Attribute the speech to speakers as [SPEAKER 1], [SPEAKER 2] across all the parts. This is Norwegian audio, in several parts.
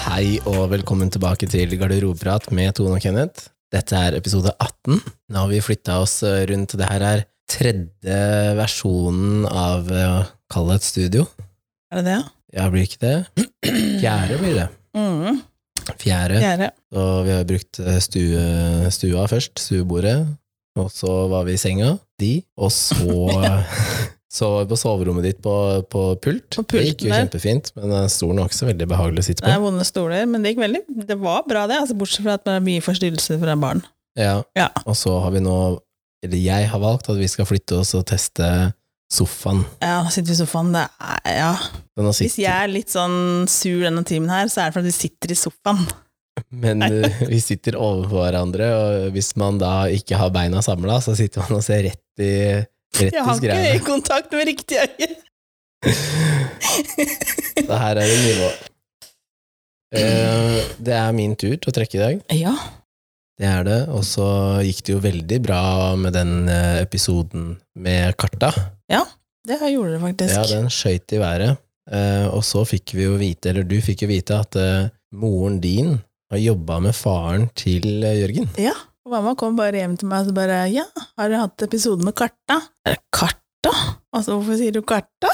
[SPEAKER 1] Hei og velkommen tilbake til Garderobeprat med Tone og Kenneth. Dette er episode 18. Nå har vi flytta oss eh, rundt. Det her er tredje versjonen av eh, Kall det et studio.
[SPEAKER 2] Er det det?
[SPEAKER 1] Ja, blir ikke det? Fjerde blir det.
[SPEAKER 2] Mm.
[SPEAKER 1] Fjerde.
[SPEAKER 2] Gjerde.
[SPEAKER 1] Og vi har brukt eh, stue, stua først, stuebordet. Og så var vi i senga, de. Og så Så var vi på soverommet ditt på, på pult.
[SPEAKER 2] På
[SPEAKER 1] det gikk
[SPEAKER 2] pulten
[SPEAKER 1] jo
[SPEAKER 2] der.
[SPEAKER 1] kjempefint, men eh, stolen var ikke så veldig behagelig å sitte
[SPEAKER 2] Det
[SPEAKER 1] på.
[SPEAKER 2] er vonde stoler, men det gikk veldig Det var bra, det. Altså, bortsett fra at det er mye forstyrrelser fra barn.
[SPEAKER 1] Ja.
[SPEAKER 2] Ja.
[SPEAKER 1] Og så har vi nå, eller jeg har valgt at vi skal flytte oss og teste sofaen.
[SPEAKER 2] Ja, sitter vi i sofaen, det er Ja.
[SPEAKER 1] Så nå
[SPEAKER 2] Hvis
[SPEAKER 1] sitter-
[SPEAKER 2] jeg er litt sånn sur denne timen her, så er det fordi vi sitter i sofaen.
[SPEAKER 1] Men eh, vi sitter overfor hverandre, og hvis man da ikke har beina samla, så sitter man og ser rett i, rett
[SPEAKER 2] Jeg
[SPEAKER 1] i
[SPEAKER 2] har ikke
[SPEAKER 1] skreiene.
[SPEAKER 2] øyekontakt med riktig øye.
[SPEAKER 1] Så her er det nivå. Eh, det er min tur til å trekke i dag.
[SPEAKER 2] Ja.
[SPEAKER 1] Det er det. Og så gikk det jo veldig bra med den eh, episoden med karta.
[SPEAKER 2] Det har gjorde det faktisk.
[SPEAKER 1] Ja, den skøyt i været. Eh, og så fikk vi jo vite, eller du fikk jo vite, at eh, moren din har jobba med faren til eh, Jørgen.
[SPEAKER 2] Ja. Og mamma kom bare hjem til meg og så bare 'Ja, har du hatt episode med Karta?' Er det Eh, Karta? Altså, hvorfor sier du Karta?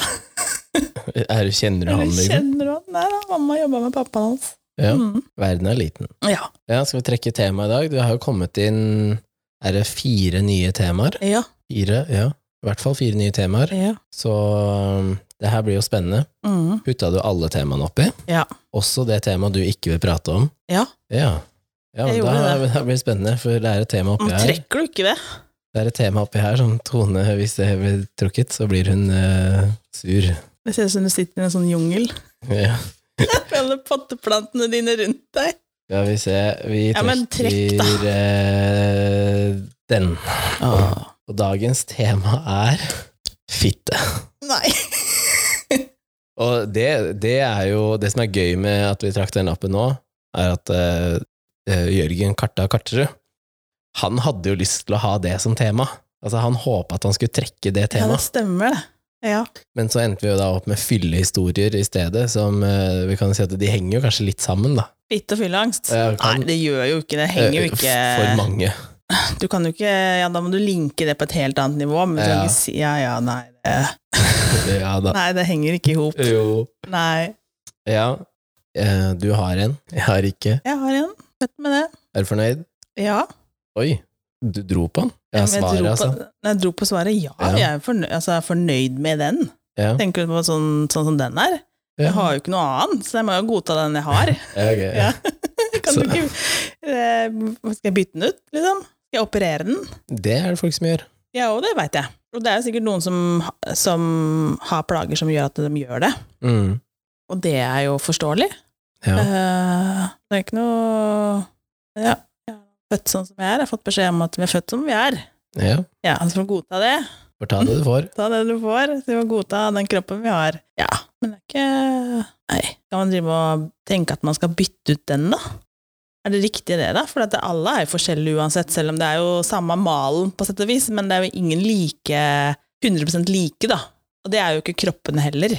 [SPEAKER 1] Er, kjenner du han, liksom?
[SPEAKER 2] Kjenner du han? Nei da, mamma jobba med pappaen hans.
[SPEAKER 1] Ja.
[SPEAKER 2] Mm.
[SPEAKER 1] Verden er liten.
[SPEAKER 2] ja.
[SPEAKER 1] Ja, skal vi trekke temaet i dag? Det har jo kommet inn Er det fire nye temaer?
[SPEAKER 2] Ja.
[SPEAKER 1] Fire, ja. I hvert fall fire nye temaer.
[SPEAKER 2] ja.
[SPEAKER 1] Så um, det her blir jo spennende.
[SPEAKER 2] Mm.
[SPEAKER 1] Putta du alle temaene oppi?
[SPEAKER 2] Ja.
[SPEAKER 1] Også det temaet du ikke vil prate om?
[SPEAKER 2] Ja.
[SPEAKER 1] Ja, ja
[SPEAKER 2] Jeg
[SPEAKER 1] men da,
[SPEAKER 2] gjorde
[SPEAKER 1] da blir det spennende, for det er et tema oppi
[SPEAKER 2] Men
[SPEAKER 1] her.
[SPEAKER 2] Trekker du ikke det?
[SPEAKER 1] Det er et tema oppi her som Tone, hvis det blir trukket, så blir hun eh, sur.
[SPEAKER 2] Det ser ut som du sitter i en sånn jungel
[SPEAKER 1] Ja.
[SPEAKER 2] med alle potteplantene dine rundt deg.
[SPEAKER 1] ja, vi ser. Vi
[SPEAKER 2] Ja, men trekk, da.
[SPEAKER 1] trekker eh, den. Og dagens tema er fitte.
[SPEAKER 2] Nei.
[SPEAKER 1] Og det, det er jo det som er gøy med at vi trakk den lappen nå, er at eh, eh, Jørgen Karta Karterud, han hadde jo lyst til å ha det som tema. Altså, han håpa at han skulle trekke det
[SPEAKER 2] Ja, det
[SPEAKER 1] temaet.
[SPEAKER 2] stemmer, det. Ja.
[SPEAKER 1] Men så endte vi jo da opp med fyllehistorier i stedet, som eh, vi kan si at de henger jo kanskje litt sammen, da.
[SPEAKER 2] Fitte og fylleangst?
[SPEAKER 1] Ja, jeg kan-
[SPEAKER 2] Nei, det gjør jo ikke det. Henger jo
[SPEAKER 1] Eh,
[SPEAKER 2] ikke
[SPEAKER 1] For mange.
[SPEAKER 2] Du kan jo ikke Ja, da må du linke det på et helt annet nivå, men du
[SPEAKER 1] Ja.
[SPEAKER 2] kan ikke si Ja, ja, nei. Det,
[SPEAKER 1] Ja da.
[SPEAKER 2] nei, det henger ikke i hop.
[SPEAKER 1] Jo.
[SPEAKER 2] Nei.
[SPEAKER 1] Ja. Eh, Du har en, jeg har ikke.
[SPEAKER 2] Jeg har en. Fett med det.
[SPEAKER 1] Er du fornøyd?
[SPEAKER 2] Ja.
[SPEAKER 1] Oi, du dro på den? Ja,
[SPEAKER 2] Men jeg dro
[SPEAKER 1] svaret,
[SPEAKER 2] på-
[SPEAKER 1] altså.
[SPEAKER 2] Nei, Jeg dro på svaret ja.
[SPEAKER 1] Ja.
[SPEAKER 2] Jeg er fornøyd, altså, jeg er fornøyd med den.
[SPEAKER 1] Ja.
[SPEAKER 2] Tenker du på sånn, sånn som den er?
[SPEAKER 1] Ja.
[SPEAKER 2] Jeg har jo ikke noe annet, så jeg må jo godta den jeg har.
[SPEAKER 1] Ja, ok, ja.
[SPEAKER 2] Ja. Kan
[SPEAKER 1] Så-
[SPEAKER 2] du ikke, eh, skal jeg bytte den ut, liksom? Skal jeg operere den?
[SPEAKER 1] Det er det folk som gjør.
[SPEAKER 2] Ja, og det veit jeg. Og det er jo sikkert noen som, som har plager som gjør at de gjør det.
[SPEAKER 1] Mm.
[SPEAKER 2] Og det er jo forståelig.
[SPEAKER 1] Ja.
[SPEAKER 2] Eh, det er ikke noe Ja, jeg er født sånn som jeg er. Jeg har fått beskjed om at vi er født som vi er.
[SPEAKER 1] ja.
[SPEAKER 2] Ja, så får vi godta det.
[SPEAKER 1] Får ta det du får.
[SPEAKER 2] Ta det du får. Så vi må godta den kroppen vi har. Ja, men det er ikke Nei. Kan man drive og tenke at man skal bytte ut den, da? Er det riktig det, da? For at det- alle er jo forskjellige uansett, selv om det er jo samme malen på sett og vis, men det er jo ingen like 100 like, da. Og det er jo ikke kroppene heller.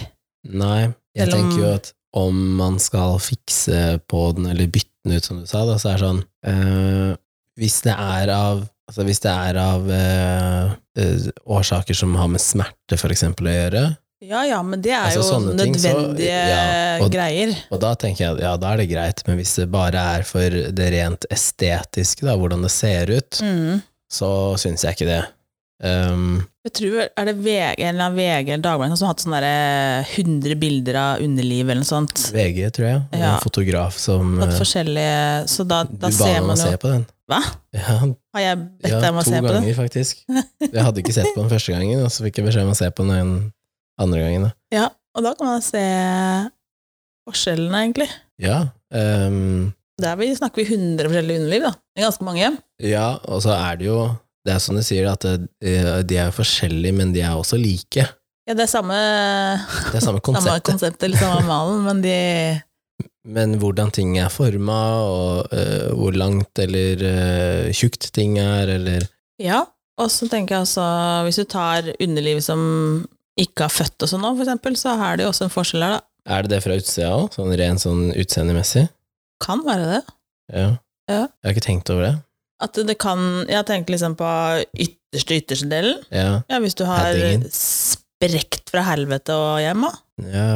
[SPEAKER 1] Nei, jeg
[SPEAKER 2] Selv om-
[SPEAKER 1] tenker jo at om man skal fikse på den, eller bytte den ut, som du sa, da, så er det sånn eh, Hvis det er av Altså hvis det er av eh, eh, årsaker som har med smerte for eksempel å gjøre,
[SPEAKER 2] Ja ja, men det er
[SPEAKER 1] Altså,
[SPEAKER 2] jo
[SPEAKER 1] sånne ting, så-
[SPEAKER 2] nødvendige
[SPEAKER 1] ja, og-
[SPEAKER 2] greier.
[SPEAKER 1] og da tenker jeg at ja, da er det greit, men hvis det bare er for det rent estetiske, da, hvordan det ser ut,
[SPEAKER 2] Mm.
[SPEAKER 1] så syns jeg ikke det. Um,
[SPEAKER 2] Jeg tror, Er det VG eller annen VG eller Dagbladet som har hatt sånne der 100 bilder av underliv eller noe sånt?
[SPEAKER 1] VG, tror jeg, og
[SPEAKER 2] Ja.
[SPEAKER 1] en fotograf som
[SPEAKER 2] Fått
[SPEAKER 1] eh,
[SPEAKER 2] forskjellige Så da,
[SPEAKER 1] Du
[SPEAKER 2] da
[SPEAKER 1] ba
[SPEAKER 2] ser
[SPEAKER 1] meg om
[SPEAKER 2] man
[SPEAKER 1] å
[SPEAKER 2] jo
[SPEAKER 1] se på den.
[SPEAKER 2] Hva?
[SPEAKER 1] Ja,
[SPEAKER 2] Har jeg bedt
[SPEAKER 1] ja
[SPEAKER 2] deg om å
[SPEAKER 1] to
[SPEAKER 2] se på
[SPEAKER 1] ganger,
[SPEAKER 2] det?
[SPEAKER 1] faktisk. Jeg hadde ikke sett på den første gangen, og så fikk jeg beskjed om å se på den en- andre gangen. Da.
[SPEAKER 2] Ja, og da kan man se forskjellene, egentlig.
[SPEAKER 1] Ja, ehm,
[SPEAKER 2] Der vi snakker vi 100 forskjellige underliv, da. Det er ganske mange.
[SPEAKER 1] ja, og så er det jo Det er som du sier, at eh, de er forskjellige, men de er også like.
[SPEAKER 2] Ja, det er samme,
[SPEAKER 1] Det er samme
[SPEAKER 2] samme
[SPEAKER 1] konsept,
[SPEAKER 2] konsept eller samme malen, men de
[SPEAKER 1] men hvordan ting er forma, og eh, hvor langt eller eh, tjukt ting er, eller
[SPEAKER 2] Ja. Og så tenker jeg altså, hvis du tar underliv som ikke har født og sånn nå, for eksempel, så er det jo også en forskjell her, da.
[SPEAKER 1] Er det det fra utsida òg, sånn rent sånn utseendemessig?
[SPEAKER 2] Kan være det.
[SPEAKER 1] Ja.
[SPEAKER 2] Ja.
[SPEAKER 1] Jeg har ikke tenkt over det.
[SPEAKER 2] At det kan Jeg tenkte liksom på ytterste, ytterste delen.
[SPEAKER 1] Ja.
[SPEAKER 2] Ja, hvis du har
[SPEAKER 1] Headingen.
[SPEAKER 2] sprekt fra helvete og hjem, da.
[SPEAKER 1] ja.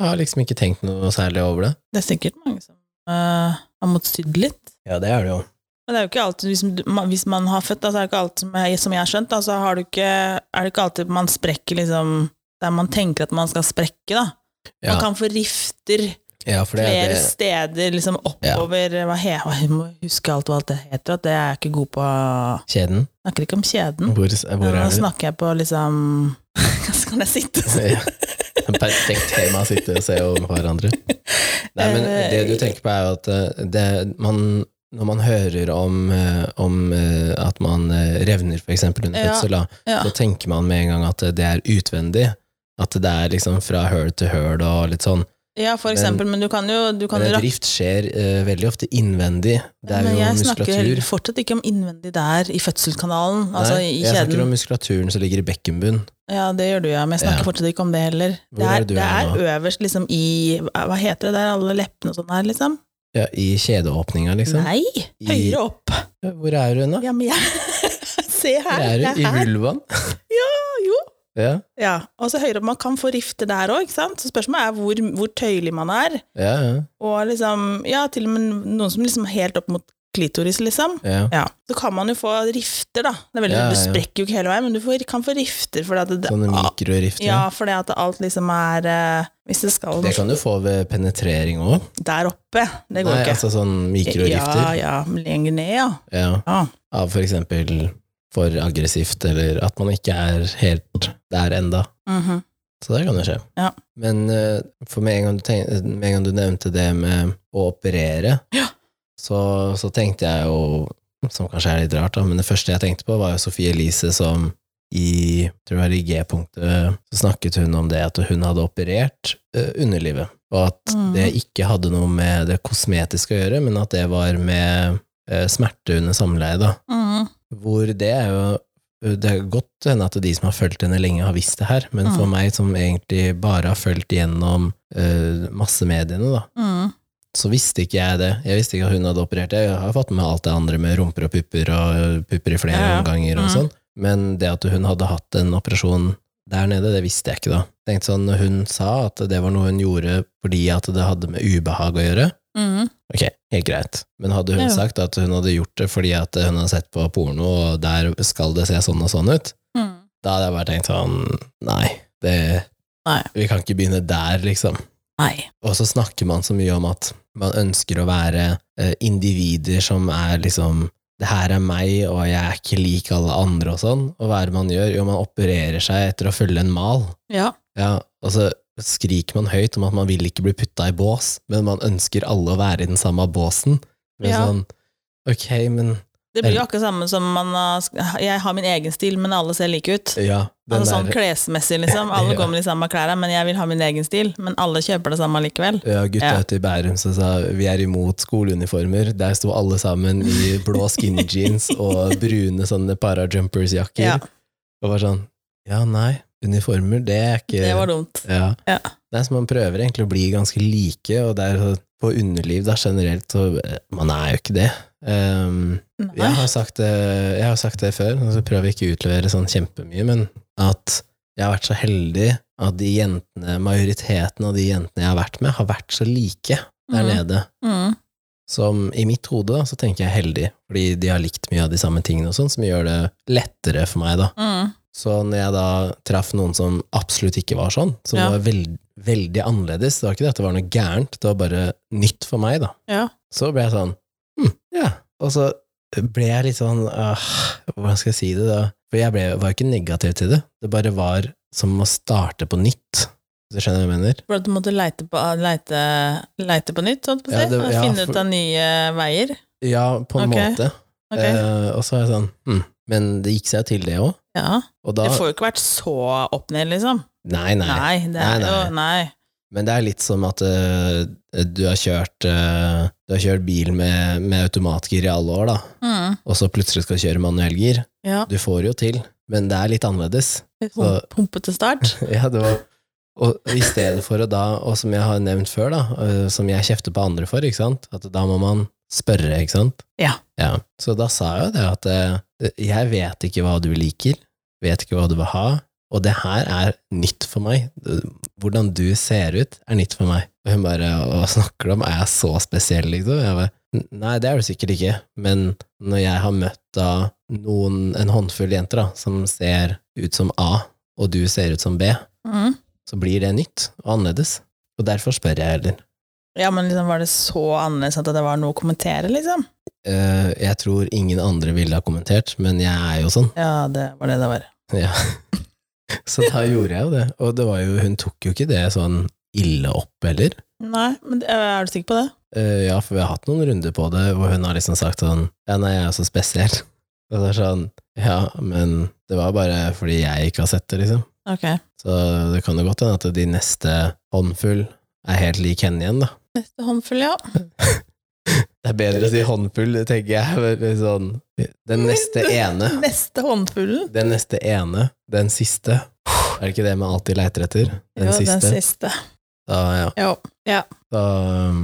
[SPEAKER 1] Jeg har liksom ikke tenkt noe særlig over det.
[SPEAKER 2] Det er sikkert mange som eh, har måttet sydde litt.
[SPEAKER 1] Ja, det er det jo.
[SPEAKER 2] Men det er jo ikke alltid, hvis, du- ma- hvis man har født, da, så er det ikke alltid, som jeg, som jeg har skjønt, da, så har du ikke, er det ikke alltid man sprekker liksom der man tenker at man skal sprekke, da. Man
[SPEAKER 1] Ja.
[SPEAKER 2] kan få rifter
[SPEAKER 1] Ja, for det
[SPEAKER 2] flere
[SPEAKER 1] er det.
[SPEAKER 2] steder liksom oppover hva he, hva- Jeg må huske alt hva det heter, at det er jeg ikke god på Jeg
[SPEAKER 1] Kjeden.
[SPEAKER 2] snakker ikke om kjeden.
[SPEAKER 1] Hvor,
[SPEAKER 2] Nå
[SPEAKER 1] hvor er du?
[SPEAKER 2] snakker jeg på liksom Så kan jeg sitte sånn.
[SPEAKER 1] Ja. Perfekt tema å sitte og se over hverandre. Nei, men
[SPEAKER 2] Eh,
[SPEAKER 1] det du tenker på er jo at eh, det, man, når man hører om, eh, om eh, at man eh, revner for eksempel under
[SPEAKER 2] Ja,
[SPEAKER 1] fødsel, da,
[SPEAKER 2] ja.
[SPEAKER 1] så tenker man med en gang at det er utvendig. At det er liksom fra høl til høl og litt sånn.
[SPEAKER 2] Ja, for
[SPEAKER 1] Men-
[SPEAKER 2] eksempel, men du kan jo, du kan
[SPEAKER 1] Men
[SPEAKER 2] jo
[SPEAKER 1] en
[SPEAKER 2] rakke
[SPEAKER 1] drift skjer eh, veldig ofte innvendig. Det er
[SPEAKER 2] Men
[SPEAKER 1] jo
[SPEAKER 2] jeg snakker
[SPEAKER 1] muskulatur.
[SPEAKER 2] fortsatt ikke om innvendig der i fødselskanalen, altså
[SPEAKER 1] Nei,
[SPEAKER 2] i
[SPEAKER 1] jeg snakker
[SPEAKER 2] kjeden.
[SPEAKER 1] om muskulaturen som ligger i bekkenbunnen.
[SPEAKER 2] Ja, det gjør du, ja, men jeg snakker
[SPEAKER 1] Ja.
[SPEAKER 2] fortsatt ikke om det heller.
[SPEAKER 1] Hvor
[SPEAKER 2] Det
[SPEAKER 1] er
[SPEAKER 2] er,
[SPEAKER 1] det du
[SPEAKER 2] det
[SPEAKER 1] er
[SPEAKER 2] er øverst liksom i Hva heter det der, alle leppene og sånn her, liksom?
[SPEAKER 1] Ja, I kjedeåpninga, liksom.
[SPEAKER 2] Nei!
[SPEAKER 1] I-
[SPEAKER 2] Høyere opp!
[SPEAKER 1] Ja, Hvor er hun, da?
[SPEAKER 2] Ja, men jeg Se
[SPEAKER 1] Hvor
[SPEAKER 2] her!
[SPEAKER 1] er
[SPEAKER 2] Det
[SPEAKER 1] hun?
[SPEAKER 2] er
[SPEAKER 1] I
[SPEAKER 2] her!
[SPEAKER 1] vulvaen?
[SPEAKER 2] jo.
[SPEAKER 1] Ja,
[SPEAKER 2] Ja, og så høyere opp. Man kan få rifter der òg, ikke sant? Så spørsmålet er hvor, hvor tøyelig man er.
[SPEAKER 1] ja, ja.
[SPEAKER 2] Og liksom Ja, til og med noen som liksom er helt opp mot klitoris, liksom.
[SPEAKER 1] ja.
[SPEAKER 2] Ja, så kan man jo få rifter, da. Det er veldig,
[SPEAKER 1] Ja,
[SPEAKER 2] Du
[SPEAKER 1] ja.
[SPEAKER 2] sprekker jo ikke hele veien, men du får, kan få rifter. Fordi at det,
[SPEAKER 1] Sånne
[SPEAKER 2] ah,
[SPEAKER 1] mikrorifter.
[SPEAKER 2] ja, fordi at alt liksom er eh, Hvis det skal
[SPEAKER 1] Det kan du få ved penetrering òg.
[SPEAKER 2] der oppe, det går
[SPEAKER 1] Nei,
[SPEAKER 2] ikke.
[SPEAKER 1] altså sånn
[SPEAKER 2] Ja,
[SPEAKER 1] mikrorifter.
[SPEAKER 2] ja, men lenger ned, ja.
[SPEAKER 1] Ja.
[SPEAKER 2] Ja.
[SPEAKER 1] Av for eksempel for aggressivt, eller at man ikke er helt der enda.
[SPEAKER 2] Mhm.
[SPEAKER 1] Så det kan jo skje.
[SPEAKER 2] Ja.
[SPEAKER 1] Men eh, for med en, gang du tenk, med en gang du nevnte det med å operere,
[SPEAKER 2] Ja.
[SPEAKER 1] så, så tenkte jeg jo, som kanskje er litt rart, da, men det første jeg tenkte på, var jo Sofie Elise som i tror jeg det var i G-punktet så snakket hun om det at hun hadde operert eh, underlivet, og at
[SPEAKER 2] Mm.
[SPEAKER 1] det ikke hadde noe med det kosmetiske å gjøre, men at det var med eh, smerte under samleie. da.
[SPEAKER 2] Mhm.
[SPEAKER 1] Hvor det er jo Det er godt hende at de som har fulgt henne lenge, har visst det her, men for
[SPEAKER 2] Mm.
[SPEAKER 1] meg som egentlig bare har fulgt gjennom uh, massemediene, da,
[SPEAKER 2] Mhm.
[SPEAKER 1] så visste ikke jeg det. Jeg visste ikke at hun hadde operert det. Jeg har fått med alt det andre med rumper og pupper og eh, pupper i flere
[SPEAKER 2] Ja, ja.
[SPEAKER 1] omganger og
[SPEAKER 2] Mm.
[SPEAKER 1] sånn, men det at hun hadde hatt en operasjon der nede, det visste jeg ikke da. Tenkte sånn, når hun sa at det var noe hun gjorde fordi at det hadde med ubehag å gjøre,
[SPEAKER 2] Mhm.
[SPEAKER 1] Ok, helt greit. Men hadde hun
[SPEAKER 2] Ja, ja.
[SPEAKER 1] sagt at hun hadde gjort det fordi at hun hadde sett på porno, og der skal det se sånn og sånn ut,
[SPEAKER 2] Mhm.
[SPEAKER 1] da hadde jeg bare tenkt sånn Nei, det,
[SPEAKER 2] Nei.
[SPEAKER 1] vi kan ikke begynne der, liksom.
[SPEAKER 2] Nei.
[SPEAKER 1] Og så snakker man så mye om at man ønsker å være eh, individer som er liksom det her er meg, og jeg er ikke lik alle andre og sånn. Og hva er det man gjør? Jo, man opererer seg etter å følge en mal.
[SPEAKER 2] Ja.
[SPEAKER 1] Ja, og så skriker man høyt om at man vil ikke bli putta i bås, men man ønsker alle å være i den samme båsen. Men
[SPEAKER 2] Ja.
[SPEAKER 1] sånn, ok, men
[SPEAKER 2] Det blir jo akkurat samme som man har Jeg har min egen stil, men alle ser like ut.
[SPEAKER 1] ja, den
[SPEAKER 2] Altså sånn
[SPEAKER 1] der
[SPEAKER 2] klesmessig, liksom. Alle
[SPEAKER 1] Ja.
[SPEAKER 2] går med de samme klærne, men jeg vil ha min egen stil. Men alle kjøper det samme likevel.
[SPEAKER 1] ja, gutta
[SPEAKER 2] Ja.
[SPEAKER 1] ute i Bærum som sa vi er imot skoleuniformer. Der sto alle sammen i blå skinny jeans og brune sånne parajumpers-jakker.
[SPEAKER 2] Ja.
[SPEAKER 1] Og var sånn Ja, nei, uniformer, det er ikke
[SPEAKER 2] Det var dumt.
[SPEAKER 1] Ja.
[SPEAKER 2] Ja.
[SPEAKER 1] Det er som man prøver egentlig å bli ganske like, og det er så- på underliv da generelt, så eh, man er jo ikke det. Ehm, jeg, har sagt det jeg har sagt det før, og så prøver jeg ikke å utlevere sånn kjempemye, men at jeg har vært så heldig at de jentene, majoriteten av de jentene jeg har vært med, har vært så like der
[SPEAKER 2] Mhm.
[SPEAKER 1] nede.
[SPEAKER 2] Mm.
[SPEAKER 1] Som i mitt hode da, så tenker jeg heldig, fordi de har likt mye av de samme tingene og sånn, som gjør det lettere for meg da.
[SPEAKER 2] Mm.
[SPEAKER 1] Så når jeg da traff noen som absolutt ikke var sånn, som
[SPEAKER 2] Ja.
[SPEAKER 1] var veld, veldig annerledes, det var ikke det at det var noe gærent, det var bare nytt for meg, da.
[SPEAKER 2] Ja.
[SPEAKER 1] Så ble jeg sånn hm, ja. Og så ble jeg litt sånn ah, hvordan skal jeg si det, da? For jeg ble, var jo ikke negativ til det, det bare var som å starte på nytt. Hvis du skjønner hva jeg mener?
[SPEAKER 2] For at du måtte leite på, leite, leite på nytt, sånn på å si.
[SPEAKER 1] Ja, det- ja,
[SPEAKER 2] Finne
[SPEAKER 1] for-
[SPEAKER 2] ut av nye veier.
[SPEAKER 1] Ja, på en
[SPEAKER 2] Ok.
[SPEAKER 1] måte.
[SPEAKER 2] Ok.
[SPEAKER 1] Eh, og så var jeg sånn hm. Men det gikk seg til, det òg.
[SPEAKER 2] ja.
[SPEAKER 1] Og da
[SPEAKER 2] Det får jo ikke vært så opp ned, liksom.
[SPEAKER 1] Nei, nei.
[SPEAKER 2] Nei. Det er
[SPEAKER 1] Nei, nei.
[SPEAKER 2] jo Nei.
[SPEAKER 1] Men det er litt som at eh, du, har kjørt, eh, du har kjørt bil med, med automatgir i alle år, da,
[SPEAKER 2] Mm.
[SPEAKER 1] og så plutselig skal du kjøre manuellgir.
[SPEAKER 2] Ja.
[SPEAKER 1] Du får det jo til, men det er litt annerledes.
[SPEAKER 2] Litt
[SPEAKER 1] Så-
[SPEAKER 2] pum- Pumpete start.
[SPEAKER 1] ja, det var Og i stedet for å da, og som jeg har nevnt før, da, øh, som jeg kjefter på andre for, ikke sant, at da må man spørre, ikke sant?
[SPEAKER 2] Ja.
[SPEAKER 1] Så da sa jeg jo det at eh, jeg vet ikke hva du liker, vet ikke hva du vil ha, og det her er nytt for meg. Øh, Hvordan du ser ut, er nytt for meg. Og hun bare, hva snakker du om, er jeg så spesiell, liksom? Jeg bare, nei, det er du sikkert ikke, men når jeg har møtt da noen, en håndfull jenter da, som ser ut som A, og du ser ut som B,
[SPEAKER 2] Mm.
[SPEAKER 1] så blir det nytt og annerledes. Og derfor spør jeg heller.
[SPEAKER 2] Ja, men liksom, var det så annerledes at det var noe å kommentere, liksom?
[SPEAKER 1] Eh, jeg tror ingen andre ville ha kommentert, men jeg er jo sånn.
[SPEAKER 2] Ja, det var det det var.
[SPEAKER 1] Ja. Så da gjorde jeg jo det. Og det var jo, hun tok jo ikke det sånn ille opp heller.
[SPEAKER 2] Nei, men øh, er du sikker på det?
[SPEAKER 1] Eh, ja, for vi har hatt noen runder på det, hvor hun har liksom sagt sånn Ja, nei, jeg er så spesiell. Og det er sånn Ja, men det var bare fordi jeg ikke har sett det, liksom.
[SPEAKER 2] Ok.
[SPEAKER 1] Så det kan jo godt hende at de neste håndfull er helt lik henne igjen, da.
[SPEAKER 2] Neste håndfull, ja.
[SPEAKER 1] Det er bedre å si håndfull, tenker jeg. men Sånn. Den neste ene.
[SPEAKER 2] Neste håndfullen.
[SPEAKER 1] Den neste ene. Den siste. Er det ikke det man alltid leiter etter? Den
[SPEAKER 2] jo, den
[SPEAKER 1] siste.
[SPEAKER 2] siste.
[SPEAKER 1] Da, ja.
[SPEAKER 2] Jo.
[SPEAKER 1] Da, um,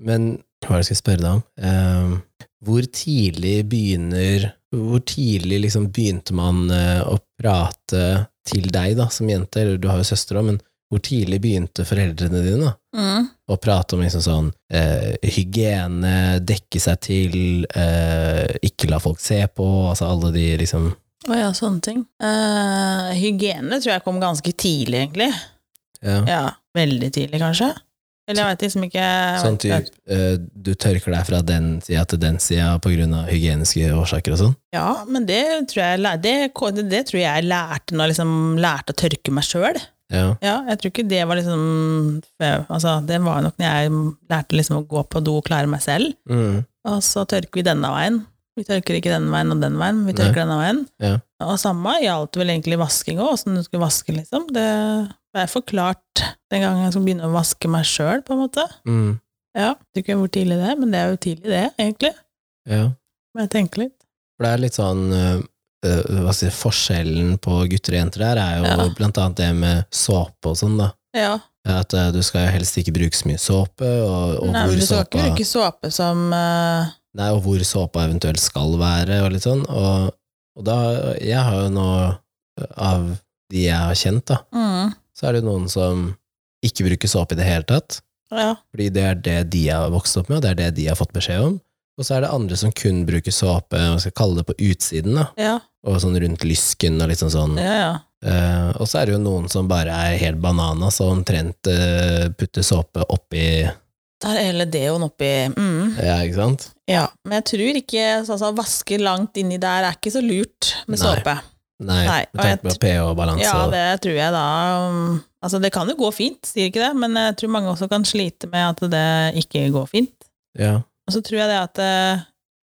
[SPEAKER 1] men hva er det jeg skal spørre deg om? Ehm, hvor tidlig begynner Hvor tidlig liksom begynte man eh, å prate til deg da, som jente? Eller du har jo søster òg, men hvor tidlig begynte foreldrene dine? da?
[SPEAKER 2] Mm.
[SPEAKER 1] Og prate om liksom sånn eh, hygiene, dekke seg til, eh, ikke la folk se på, altså alle de liksom
[SPEAKER 2] Å ja, sånne ting. Eh, hygiene tror jeg kom ganske tidlig, egentlig.
[SPEAKER 1] ja.
[SPEAKER 2] Ja, Veldig tidlig, kanskje. Eller jeg veit liksom ikke jeg
[SPEAKER 1] Sånn
[SPEAKER 2] vet ikke.
[SPEAKER 1] type eh, du tørker deg fra den sida til den sida på grunn av hygieniske årsaker og sånn?
[SPEAKER 2] Ja, men det tror jeg, lær- det, det, det tror jeg lærte når jeg liksom lærte å tørke meg sjøl.
[SPEAKER 1] Ja.
[SPEAKER 2] Ja, jeg tror ikke det var liksom Altså, det var nok når jeg lærte liksom å gå på do og klare meg selv.
[SPEAKER 1] Mm.
[SPEAKER 2] Og så tørker vi denne veien. Vi tørker ikke denne veien og den veien, vi
[SPEAKER 1] Nei.
[SPEAKER 2] tørker denne veien.
[SPEAKER 1] Ja.
[SPEAKER 2] Og samme gjaldt vel egentlig vasking òg, åssen du skulle vaske, liksom. Det ble forklart den gangen jeg skulle begynne å vaske meg sjøl, på en måte.
[SPEAKER 1] Mm.
[SPEAKER 2] Ja, jeg vet ikke hvor tidlig det er, men det er jo tidlig, det, egentlig.
[SPEAKER 1] ja.
[SPEAKER 2] Må jeg tenke litt.
[SPEAKER 1] For det er litt sånn eh, eh, hva skal jeg si, Forskjellen på gutter og jenter der er jo
[SPEAKER 2] Ja.
[SPEAKER 1] blant annet det med såpe og sånn, da.
[SPEAKER 2] Ja.
[SPEAKER 1] At eh, du skal jo helst ikke bruke så mye såpe, og, og
[SPEAKER 2] Nei, men
[SPEAKER 1] hvor
[SPEAKER 2] du skal ikke
[SPEAKER 1] såpa
[SPEAKER 2] bruke såpe som eh,
[SPEAKER 1] Nei, og hvor såpa eventuelt skal være, og litt sånn. Og, og da, jeg har jo nå, av de jeg har kjent, da,
[SPEAKER 2] mm,
[SPEAKER 1] så er det jo noen som ikke bruker såpe i det hele tatt.
[SPEAKER 2] Ja.
[SPEAKER 1] Fordi det er det de har vokst opp med, og det er det de har fått beskjed om. Og så er det andre som kun bruker såpe, hva skal jeg kalle det, på utsiden, da.
[SPEAKER 2] Ja.
[SPEAKER 1] Og sånn rundt lysken og litt sånn sånn.
[SPEAKER 2] Ja, ja.
[SPEAKER 1] Eh, og så er det jo noen som bare er helt bananas og omtrent eh, putter såpe oppi
[SPEAKER 2] Der er hele deoen oppi. Mm.
[SPEAKER 1] Ja, ikke sant?
[SPEAKER 2] Ja, men jeg tror ikke så altså, vaske langt inni der er ikke så lurt med
[SPEAKER 1] Nei. altså-
[SPEAKER 2] såpe.
[SPEAKER 1] Nei,
[SPEAKER 2] Nei,
[SPEAKER 1] med tanke
[SPEAKER 2] og
[SPEAKER 1] på pH-balanse.
[SPEAKER 2] Ja,
[SPEAKER 1] og-
[SPEAKER 2] det tror jeg da um, Altså, det kan jo gå fint, sier ikke det, men jeg tror mange også kan slite med at det ikke går fint.
[SPEAKER 1] ja,
[SPEAKER 2] Og så tror jeg det at eh,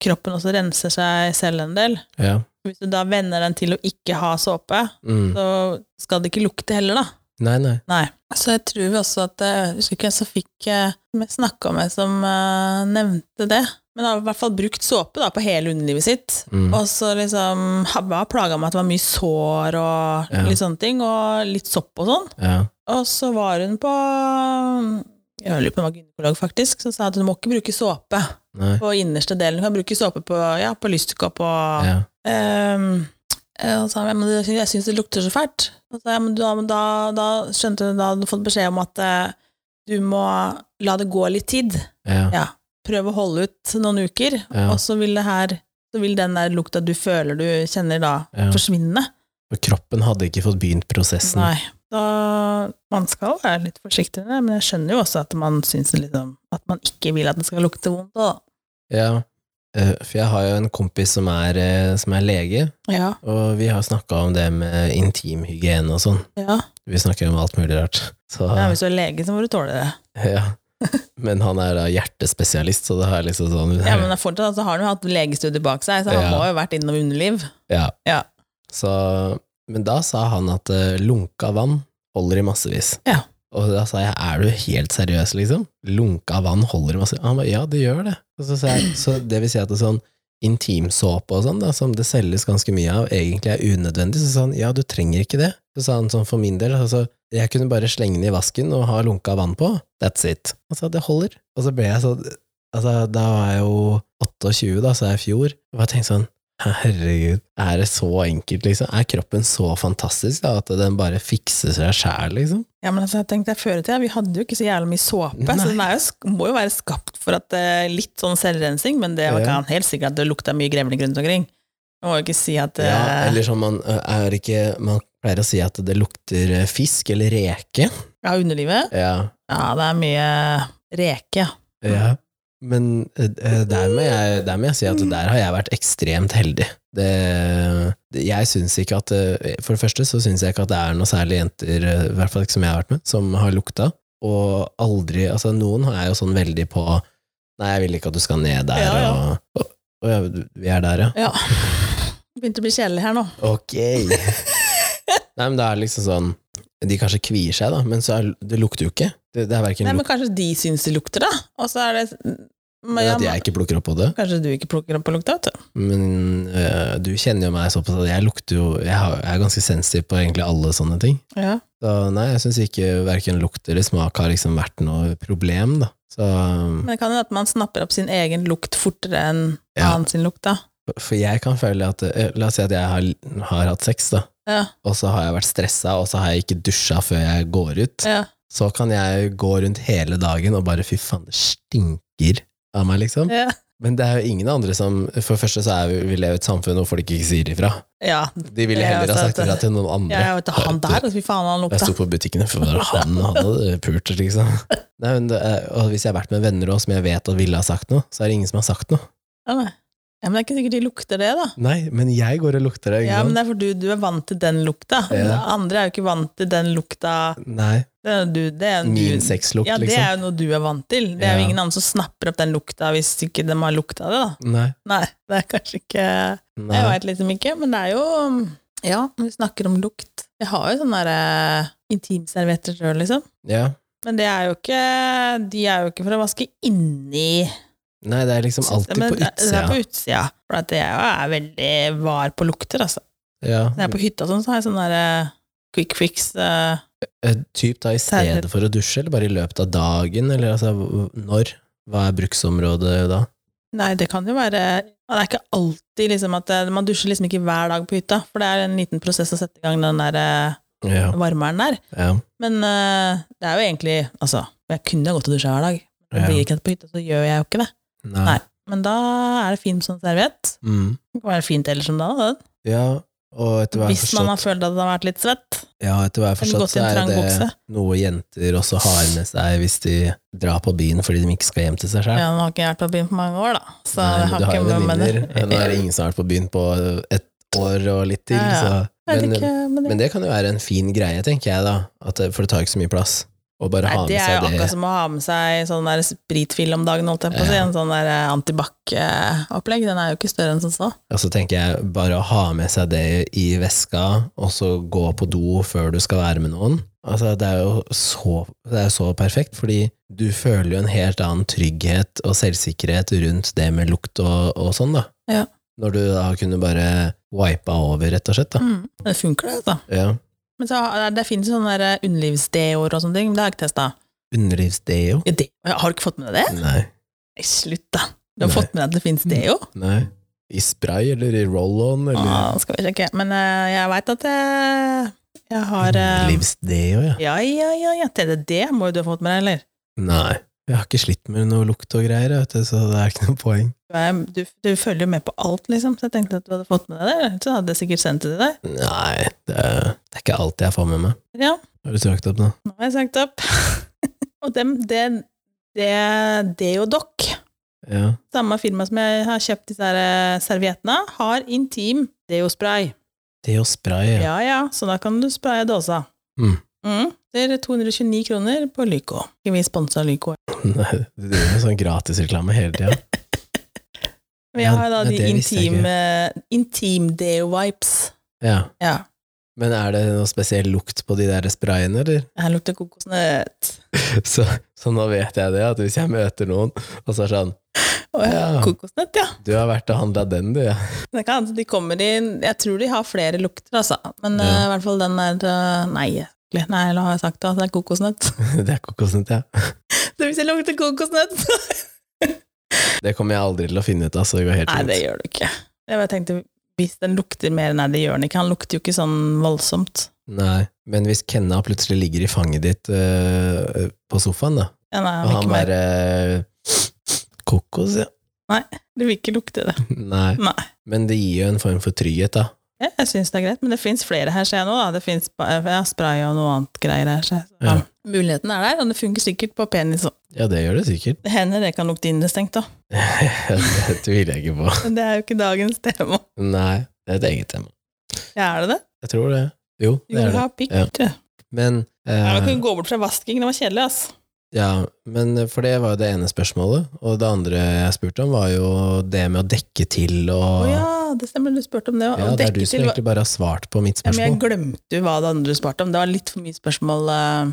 [SPEAKER 2] kroppen også renser seg selv en del.
[SPEAKER 1] ja.
[SPEAKER 2] Hvis du da venner den til å ikke ha såpe,
[SPEAKER 1] Mm.
[SPEAKER 2] så skal det ikke lukte heller, da.
[SPEAKER 1] Nei, nei.
[SPEAKER 2] Nei. Så jeg tror vi også at eh, Jeg husker ikke hvem som fikk eh, som jeg snakka med, som eh, nevnte det. Men har i hvert fall brukt såpe da, på hele underlivet sitt.
[SPEAKER 1] Mm.
[SPEAKER 2] Og så liksom har har plaga meg at det var mye sår og
[SPEAKER 1] Ja.
[SPEAKER 2] litt sånne ting, og litt sopp og sånn.
[SPEAKER 1] Ja.
[SPEAKER 2] Og så var hun på jeg lurer på om hun var gynekolog, faktisk, som sa at hun må ikke bruke såpe
[SPEAKER 1] Nei.
[SPEAKER 2] på innerste delen. Hun kan bruke såpe på, ja, på lystkopp og
[SPEAKER 1] Ja.
[SPEAKER 2] Ehm, eh, og så sa han, «Ja, men det- jeg syns det lukter så fælt. Og så, sa jeg, «Men da, men da, da skjønte hun da hadde hun fått beskjed om at eh, du må la det gå litt tid.
[SPEAKER 1] Ja.
[SPEAKER 2] Ja, Prøv å holde ut noen uker,
[SPEAKER 1] Ja.
[SPEAKER 2] og så vil, det her, så vil den der lukta du føler du kjenner da,
[SPEAKER 1] Ja.
[SPEAKER 2] forsvinne.
[SPEAKER 1] For kroppen hadde ikke fått begynt prosessen.
[SPEAKER 2] Nei. Da, man skal være litt forsiktig med det, men jeg skjønner jo også at man synes det liksom, at man ikke vil at det skal lukte vondt. Da.
[SPEAKER 1] Ja. Eh, For jeg har jo en kompis som er, eh, som er lege,
[SPEAKER 2] Ja,
[SPEAKER 1] og vi har snakka om det med intimhygiene og sånn.
[SPEAKER 2] ja.
[SPEAKER 1] Vi snakker om alt mulig rart. Så,
[SPEAKER 2] ja. Hvis du er lege, så må du tåle det.
[SPEAKER 1] ja. Men han er da hjertespesialist, så det er liksom sånn
[SPEAKER 2] Ja, men fortsatt altså, har han jo hatt legestudier bak seg, så han
[SPEAKER 1] Ja.
[SPEAKER 2] må jo ha vært innom underliv.
[SPEAKER 1] Ja.
[SPEAKER 2] Ja.
[SPEAKER 1] Så, men da sa han at eh, lunka vann holder i massevis.
[SPEAKER 2] Ja.
[SPEAKER 1] Og da sa jeg, er du helt seriøs, liksom? Lunka vann holder i massevis. Han ba, ja, det gjør det. Og så sa jeg, så det vil si at det er sånn, intimsåpe og sånn, da, som det selges ganske mye av, egentlig er unødvendig, så sa han ja, du trenger ikke det. Så sa han sånn for min del, altså, jeg kunne bare slenge den i vasken og ha lunka vann på, that's it. Han sa det holder. Og så ble jeg sånn, altså da var jeg jo 28 da, så er jeg i fjor, og jeg tenkte sånn, herregud, er det så enkelt liksom? Er kroppen så fantastisk da, at den bare fikser seg selv liksom?
[SPEAKER 2] Ja, men altså, jeg tenkte jeg før i tida, Vi hadde jo ikke så jævlig mye såpe,
[SPEAKER 1] Nei.
[SPEAKER 2] så den er jo, sk- må jo være skapt for at eh, litt sånn selvrensing, men det var
[SPEAKER 1] Ja.
[SPEAKER 2] ikke han helt sikkert at det lukta mye grevling rundt omkring. Man må jo ikke si at eh,
[SPEAKER 1] Ja, eller som man ø, er ikke Man pleier å si at det lukter ø, fisk eller reke.
[SPEAKER 2] ja, underlivet
[SPEAKER 1] Ja.
[SPEAKER 2] Ja, det er mye reke. ja.
[SPEAKER 1] Men ø, ø, der må, jeg, der må jeg si at der har jeg vært ekstremt heldig. Det, det- jeg syns ikke at ø, For det første så syns jeg ikke at det er noe særlig jenter, ø, i hvert fall ikke som jeg har vært med, som har lukta. Og aldri Altså, noen er jo sånn veldig på Nei, jeg vil ikke at du skal ned der,
[SPEAKER 2] Ja, ja.
[SPEAKER 1] og, og, og ja, Vi er der, ja.
[SPEAKER 2] Ja. Begynte å bli kjedelig her nå.
[SPEAKER 1] Ok. Nei, men det er liksom sånn De kanskje kvier seg, da, men så er, det lukter jo ikke. Det, det er verken
[SPEAKER 2] Nei,
[SPEAKER 1] lukt
[SPEAKER 2] men kanskje de syns det lukter, da. Og så er det men,
[SPEAKER 1] eller
[SPEAKER 2] ja,
[SPEAKER 1] at jeg ikke plukker opp på det,
[SPEAKER 2] Kanskje du ikke plukker opp på lukta, vet du.
[SPEAKER 1] men øh, du kjenner jo meg såpass at jeg lukter jo Jeg, har, jeg er ganske sensitiv på egentlig alle sånne ting.
[SPEAKER 2] Ja.
[SPEAKER 1] Så nei, jeg syns ikke verken lukt eller smak har liksom vært noe problem, da. Så
[SPEAKER 2] Men det kan jo at man snapper opp sin egen lukt fortere enn
[SPEAKER 1] Ja.
[SPEAKER 2] annen sin lukt, da.
[SPEAKER 1] For jeg kan føle at øh, La oss si at jeg har, har hatt sex, da.
[SPEAKER 2] Ja,
[SPEAKER 1] Og så har jeg vært stressa, og så har jeg ikke dusja før jeg går ut.
[SPEAKER 2] ja.
[SPEAKER 1] så kan jeg gå rundt hele dagen og bare fy faen, det stinker av meg, liksom.
[SPEAKER 2] ja.
[SPEAKER 1] Men det er jo ingen andre som For det første så er vi, vi lever i et samfunn hvor folk ikke sier ifra.
[SPEAKER 2] ja.
[SPEAKER 1] De ville
[SPEAKER 2] Ja, altså,
[SPEAKER 1] heller ha
[SPEAKER 2] sant
[SPEAKER 1] sagt ifra
[SPEAKER 2] det.
[SPEAKER 1] til noen andre.
[SPEAKER 2] Jeg vet du, han der, fy faen, han
[SPEAKER 1] Jeg
[SPEAKER 2] lukta.
[SPEAKER 1] sto på butikkene, for bare han hadde pult, liksom. Nei, men det er, og hvis jeg har vært med venner også, som jeg vet at ville ha sagt noe, så er det ingen som har sagt noe.
[SPEAKER 2] Ja, nei. ja, men det er ikke sikkert de lukter det, da.
[SPEAKER 1] Nei, men jeg går og lukter det. Ikke
[SPEAKER 2] Ja, men
[SPEAKER 1] sant?
[SPEAKER 2] det er fordi du er vant til den lukta.
[SPEAKER 1] Ja.
[SPEAKER 2] Andre er jo ikke vant til den lukta
[SPEAKER 1] Nei,
[SPEAKER 2] Det er jo du, det er jo du,
[SPEAKER 1] min sexlukt,
[SPEAKER 2] Ja, det
[SPEAKER 1] liksom.
[SPEAKER 2] er jo noe du er vant til. Det er
[SPEAKER 1] Ja.
[SPEAKER 2] jo ingen andre som snapper opp den lukta hvis ikke de har lukta det, da.
[SPEAKER 1] Nei.
[SPEAKER 2] Nei, det er kanskje ikke
[SPEAKER 1] Nei.
[SPEAKER 2] Jeg veit liksom ikke, men det er jo Ja, vi snakker om lukt. Jeg har jo sånn sånne derre intimservietter sjøl, liksom.
[SPEAKER 1] Ja.
[SPEAKER 2] Men det er jo ikke De er jo ikke for å vaske inni
[SPEAKER 1] Nei, det er liksom alltid
[SPEAKER 2] Men
[SPEAKER 1] på
[SPEAKER 2] det- Det er
[SPEAKER 1] utsida.
[SPEAKER 2] på utsida. For at jeg er veldig var på lukter, altså.
[SPEAKER 1] Ja.
[SPEAKER 2] Når jeg er på hytta og sånn, så har jeg sånn derre quick fix eh,
[SPEAKER 1] Eh, Typ da i stedet
[SPEAKER 2] Særlig.
[SPEAKER 1] for å dusje, eller bare i løpet av dagen, eller altså hv- når? Hva er bruksområdet da?
[SPEAKER 2] Nei, det kan jo være Det er ikke alltid liksom at eh, Man dusjer liksom ikke hver dag på hytta, for det er en liten prosess å sette i gang den der eh,
[SPEAKER 1] Ja,
[SPEAKER 2] varmeren der.
[SPEAKER 1] ja,
[SPEAKER 2] Men eh, det er jo egentlig Altså, jeg kunne gått og dusja hver dag. Men
[SPEAKER 1] Ja.
[SPEAKER 2] Blir ikke det på hytta, så gjør jeg jo ikke det.
[SPEAKER 1] nei.
[SPEAKER 2] Nei. Men da er det fint som serviett.
[SPEAKER 1] Mm.
[SPEAKER 2] Det kan være fint ellers som da. da.
[SPEAKER 1] Ja, og etter hva jeg har
[SPEAKER 2] Hvis man har
[SPEAKER 1] forstått,
[SPEAKER 2] følt at det har vært litt svett.
[SPEAKER 1] ja, etter hva jeg har
[SPEAKER 2] Eller
[SPEAKER 1] forstått
[SPEAKER 2] gått i
[SPEAKER 1] så
[SPEAKER 2] en
[SPEAKER 1] er
[SPEAKER 2] trang
[SPEAKER 1] det
[SPEAKER 2] bukse.
[SPEAKER 1] noe jenter også har med seg hvis de drar på byen fordi de ikke skal hjem til seg
[SPEAKER 2] Ja,
[SPEAKER 1] selv.
[SPEAKER 2] Nå har ikke jeg vært på byen på mange år, da. Så
[SPEAKER 1] Nei,
[SPEAKER 2] jeg
[SPEAKER 1] men du
[SPEAKER 2] har
[SPEAKER 1] har
[SPEAKER 2] ikke
[SPEAKER 1] jo
[SPEAKER 2] men-
[SPEAKER 1] venninner.
[SPEAKER 2] men-
[SPEAKER 1] Nå er det ingen som har vært på byen på et år og litt til,
[SPEAKER 2] Ja, ja.
[SPEAKER 1] så
[SPEAKER 2] Jeg vet
[SPEAKER 1] men,
[SPEAKER 2] ikke, men det,
[SPEAKER 1] men det kan jo være en fin greie, tenker jeg da, at, det- for det tar jo ikke så mye plass. Å bare
[SPEAKER 2] nei,
[SPEAKER 1] ha
[SPEAKER 2] det
[SPEAKER 1] med
[SPEAKER 2] er
[SPEAKER 1] seg
[SPEAKER 2] jo
[SPEAKER 1] det.
[SPEAKER 2] akkurat som å ha med seg sånn der spritfil om dagen, holdt jeg på å si.
[SPEAKER 1] Ja.
[SPEAKER 2] En sånn der eh, antibac-opplegg. Den er jo ikke større enn som så.
[SPEAKER 1] Og så tenker jeg bare å ha med seg det i veska, og så gå på do før du skal være med noen. Altså, det er jo så, det er så perfekt, fordi du føler jo en helt annen trygghet og selvsikkerhet rundt det med lukt og, og sånn, da.
[SPEAKER 2] Ja.
[SPEAKER 1] Når du da kunne bare wipa over, rett og slett, da.
[SPEAKER 2] Mm. Det funker, det, altså.
[SPEAKER 1] Ja.
[SPEAKER 2] Men så, har- det finnes jo sånne der eh, underlivsdeoer og sånne ting, men det har jeg ikke testa.
[SPEAKER 1] Underlivsdeo?
[SPEAKER 2] Ja, det- har du ikke fått med deg det?
[SPEAKER 1] Nei.
[SPEAKER 2] Nei, slutt, da.
[SPEAKER 1] Mm. Nei.
[SPEAKER 2] Du har
[SPEAKER 1] Mm.
[SPEAKER 2] fått med deg at det finnes deo?
[SPEAKER 1] Nei. I spray eller i roll-on, eller
[SPEAKER 2] Ja, skal vi sjekke. Men eh, jeg veit at jeg, jeg har eh,
[SPEAKER 1] Underlivsdeo, ja.
[SPEAKER 2] Ja, ja, ja, ja. TDD må jo du ha fått med deg, eller?
[SPEAKER 1] Nei. Jeg har ikke slitt med noe lukt og greier, vet du, så det er ikke noe poeng.
[SPEAKER 2] Du, er, du, du følger jo med på alt, liksom. Så jeg tenkte at du hadde fått med deg det. eller? Så hadde jeg sikkert sendt det til deg.
[SPEAKER 1] Nei, det er, det er ikke alt jeg får med meg.
[SPEAKER 2] Ja,
[SPEAKER 1] Har du søkt opp nå?
[SPEAKER 2] nå har jeg sagt opp. Og dem, det, det, det er jo dokk.
[SPEAKER 1] Ja.
[SPEAKER 2] Samme firma som jeg har kjøpt disse her eh, serviettene, har intim deospray.
[SPEAKER 1] Det er jo spray, ja.
[SPEAKER 2] Ja, ja, så da kan du spraye dåsa.
[SPEAKER 1] Mm.
[SPEAKER 2] Mm. Det er 229 kroner på Lyco. Ikke vi sponsa Lyco.
[SPEAKER 1] Nei, Du driver med sånn gratisreklame hele tida.
[SPEAKER 2] Men jeg
[SPEAKER 1] Ja,
[SPEAKER 2] har da
[SPEAKER 1] ja,
[SPEAKER 2] de
[SPEAKER 1] det visste jeg
[SPEAKER 2] intim, eh, intim deo-vipes.
[SPEAKER 1] Ja.
[SPEAKER 2] Ja.
[SPEAKER 1] Men er det noe spesiell lukt på de der sprayene, eller?
[SPEAKER 2] Her lukter kokosnøtt.
[SPEAKER 1] Så, så nå vet jeg det, at hvis jeg møter noen, og så er det sånn
[SPEAKER 2] Å ja,
[SPEAKER 1] Ja.
[SPEAKER 2] kokosnøtt, ja.
[SPEAKER 1] Du har vært og handla den, du, ja.
[SPEAKER 2] Det kan, hende de kommer i Jeg tror de har flere lukter, altså. Men
[SPEAKER 1] Ja.
[SPEAKER 2] eh, i hvert fall den der eh, Nei, egentlig. nei, la har jeg sagt det. altså, Det er kokosnøtt.
[SPEAKER 1] Det er kokosnøtt, ja.
[SPEAKER 2] Så hvis jeg lukter kokosnøtt
[SPEAKER 1] Det kommer jeg aldri til å finne ut av, så det går helt
[SPEAKER 2] Nei, det
[SPEAKER 1] fint.
[SPEAKER 2] gjør du ikke. Jeg bare tenkte, hvis den lukter mer Nei, det gjør den ikke. Han lukter jo ikke sånn voldsomt.
[SPEAKER 1] Nei, Men hvis Kenna plutselig ligger i fanget ditt øh, på sofaen, da,
[SPEAKER 2] Ja, nei,
[SPEAKER 1] og
[SPEAKER 2] han vil
[SPEAKER 1] han
[SPEAKER 2] ikke mer.
[SPEAKER 1] bare øh, Kokos, ja.
[SPEAKER 2] Du vil ikke lukte det.
[SPEAKER 1] Nei.
[SPEAKER 2] Nei.
[SPEAKER 1] Men det gir jo en form for trygghet, da.
[SPEAKER 2] Ja, jeg syns det er greit, men det fins flere her, ser jeg nå. Da. Det fins ja, spray og noe annet greier her. ser jeg. Så,
[SPEAKER 1] Ja.
[SPEAKER 2] Muligheten er der, og det funker sikkert på penis òg.
[SPEAKER 1] Ja, det gjør det sikkert.
[SPEAKER 2] Det hender det kan lukte innestengt òg,
[SPEAKER 1] det tviler jeg ikke på.
[SPEAKER 2] men det er jo ikke dagens tema.
[SPEAKER 1] Nei, det er et eget tema.
[SPEAKER 2] Ja, er det det?
[SPEAKER 1] Jeg tror det. Jo,
[SPEAKER 2] Jo,
[SPEAKER 1] det er
[SPEAKER 2] jeg
[SPEAKER 1] det.
[SPEAKER 2] har pikk,
[SPEAKER 1] Ja.
[SPEAKER 2] tror jeg.
[SPEAKER 1] Men,
[SPEAKER 2] Ja, Man
[SPEAKER 1] eh,
[SPEAKER 2] kunne gå bort fra vasking, det var kjedelig, ass.
[SPEAKER 1] ja, men eh, For det var jo det ene spørsmålet. Og det andre jeg spurte om, var jo det med å dekke til
[SPEAKER 2] Å
[SPEAKER 1] og
[SPEAKER 2] ja, det stemmer, du spurte om det.
[SPEAKER 1] Ja,
[SPEAKER 2] og
[SPEAKER 1] det er
[SPEAKER 2] dekke
[SPEAKER 1] du som
[SPEAKER 2] til hva-
[SPEAKER 1] egentlig bare har svart på mitt
[SPEAKER 2] ja, men jeg
[SPEAKER 1] spørsmål.
[SPEAKER 2] glemte jo hva det andre du spurte om. Det var litt for mye spørsmål eh,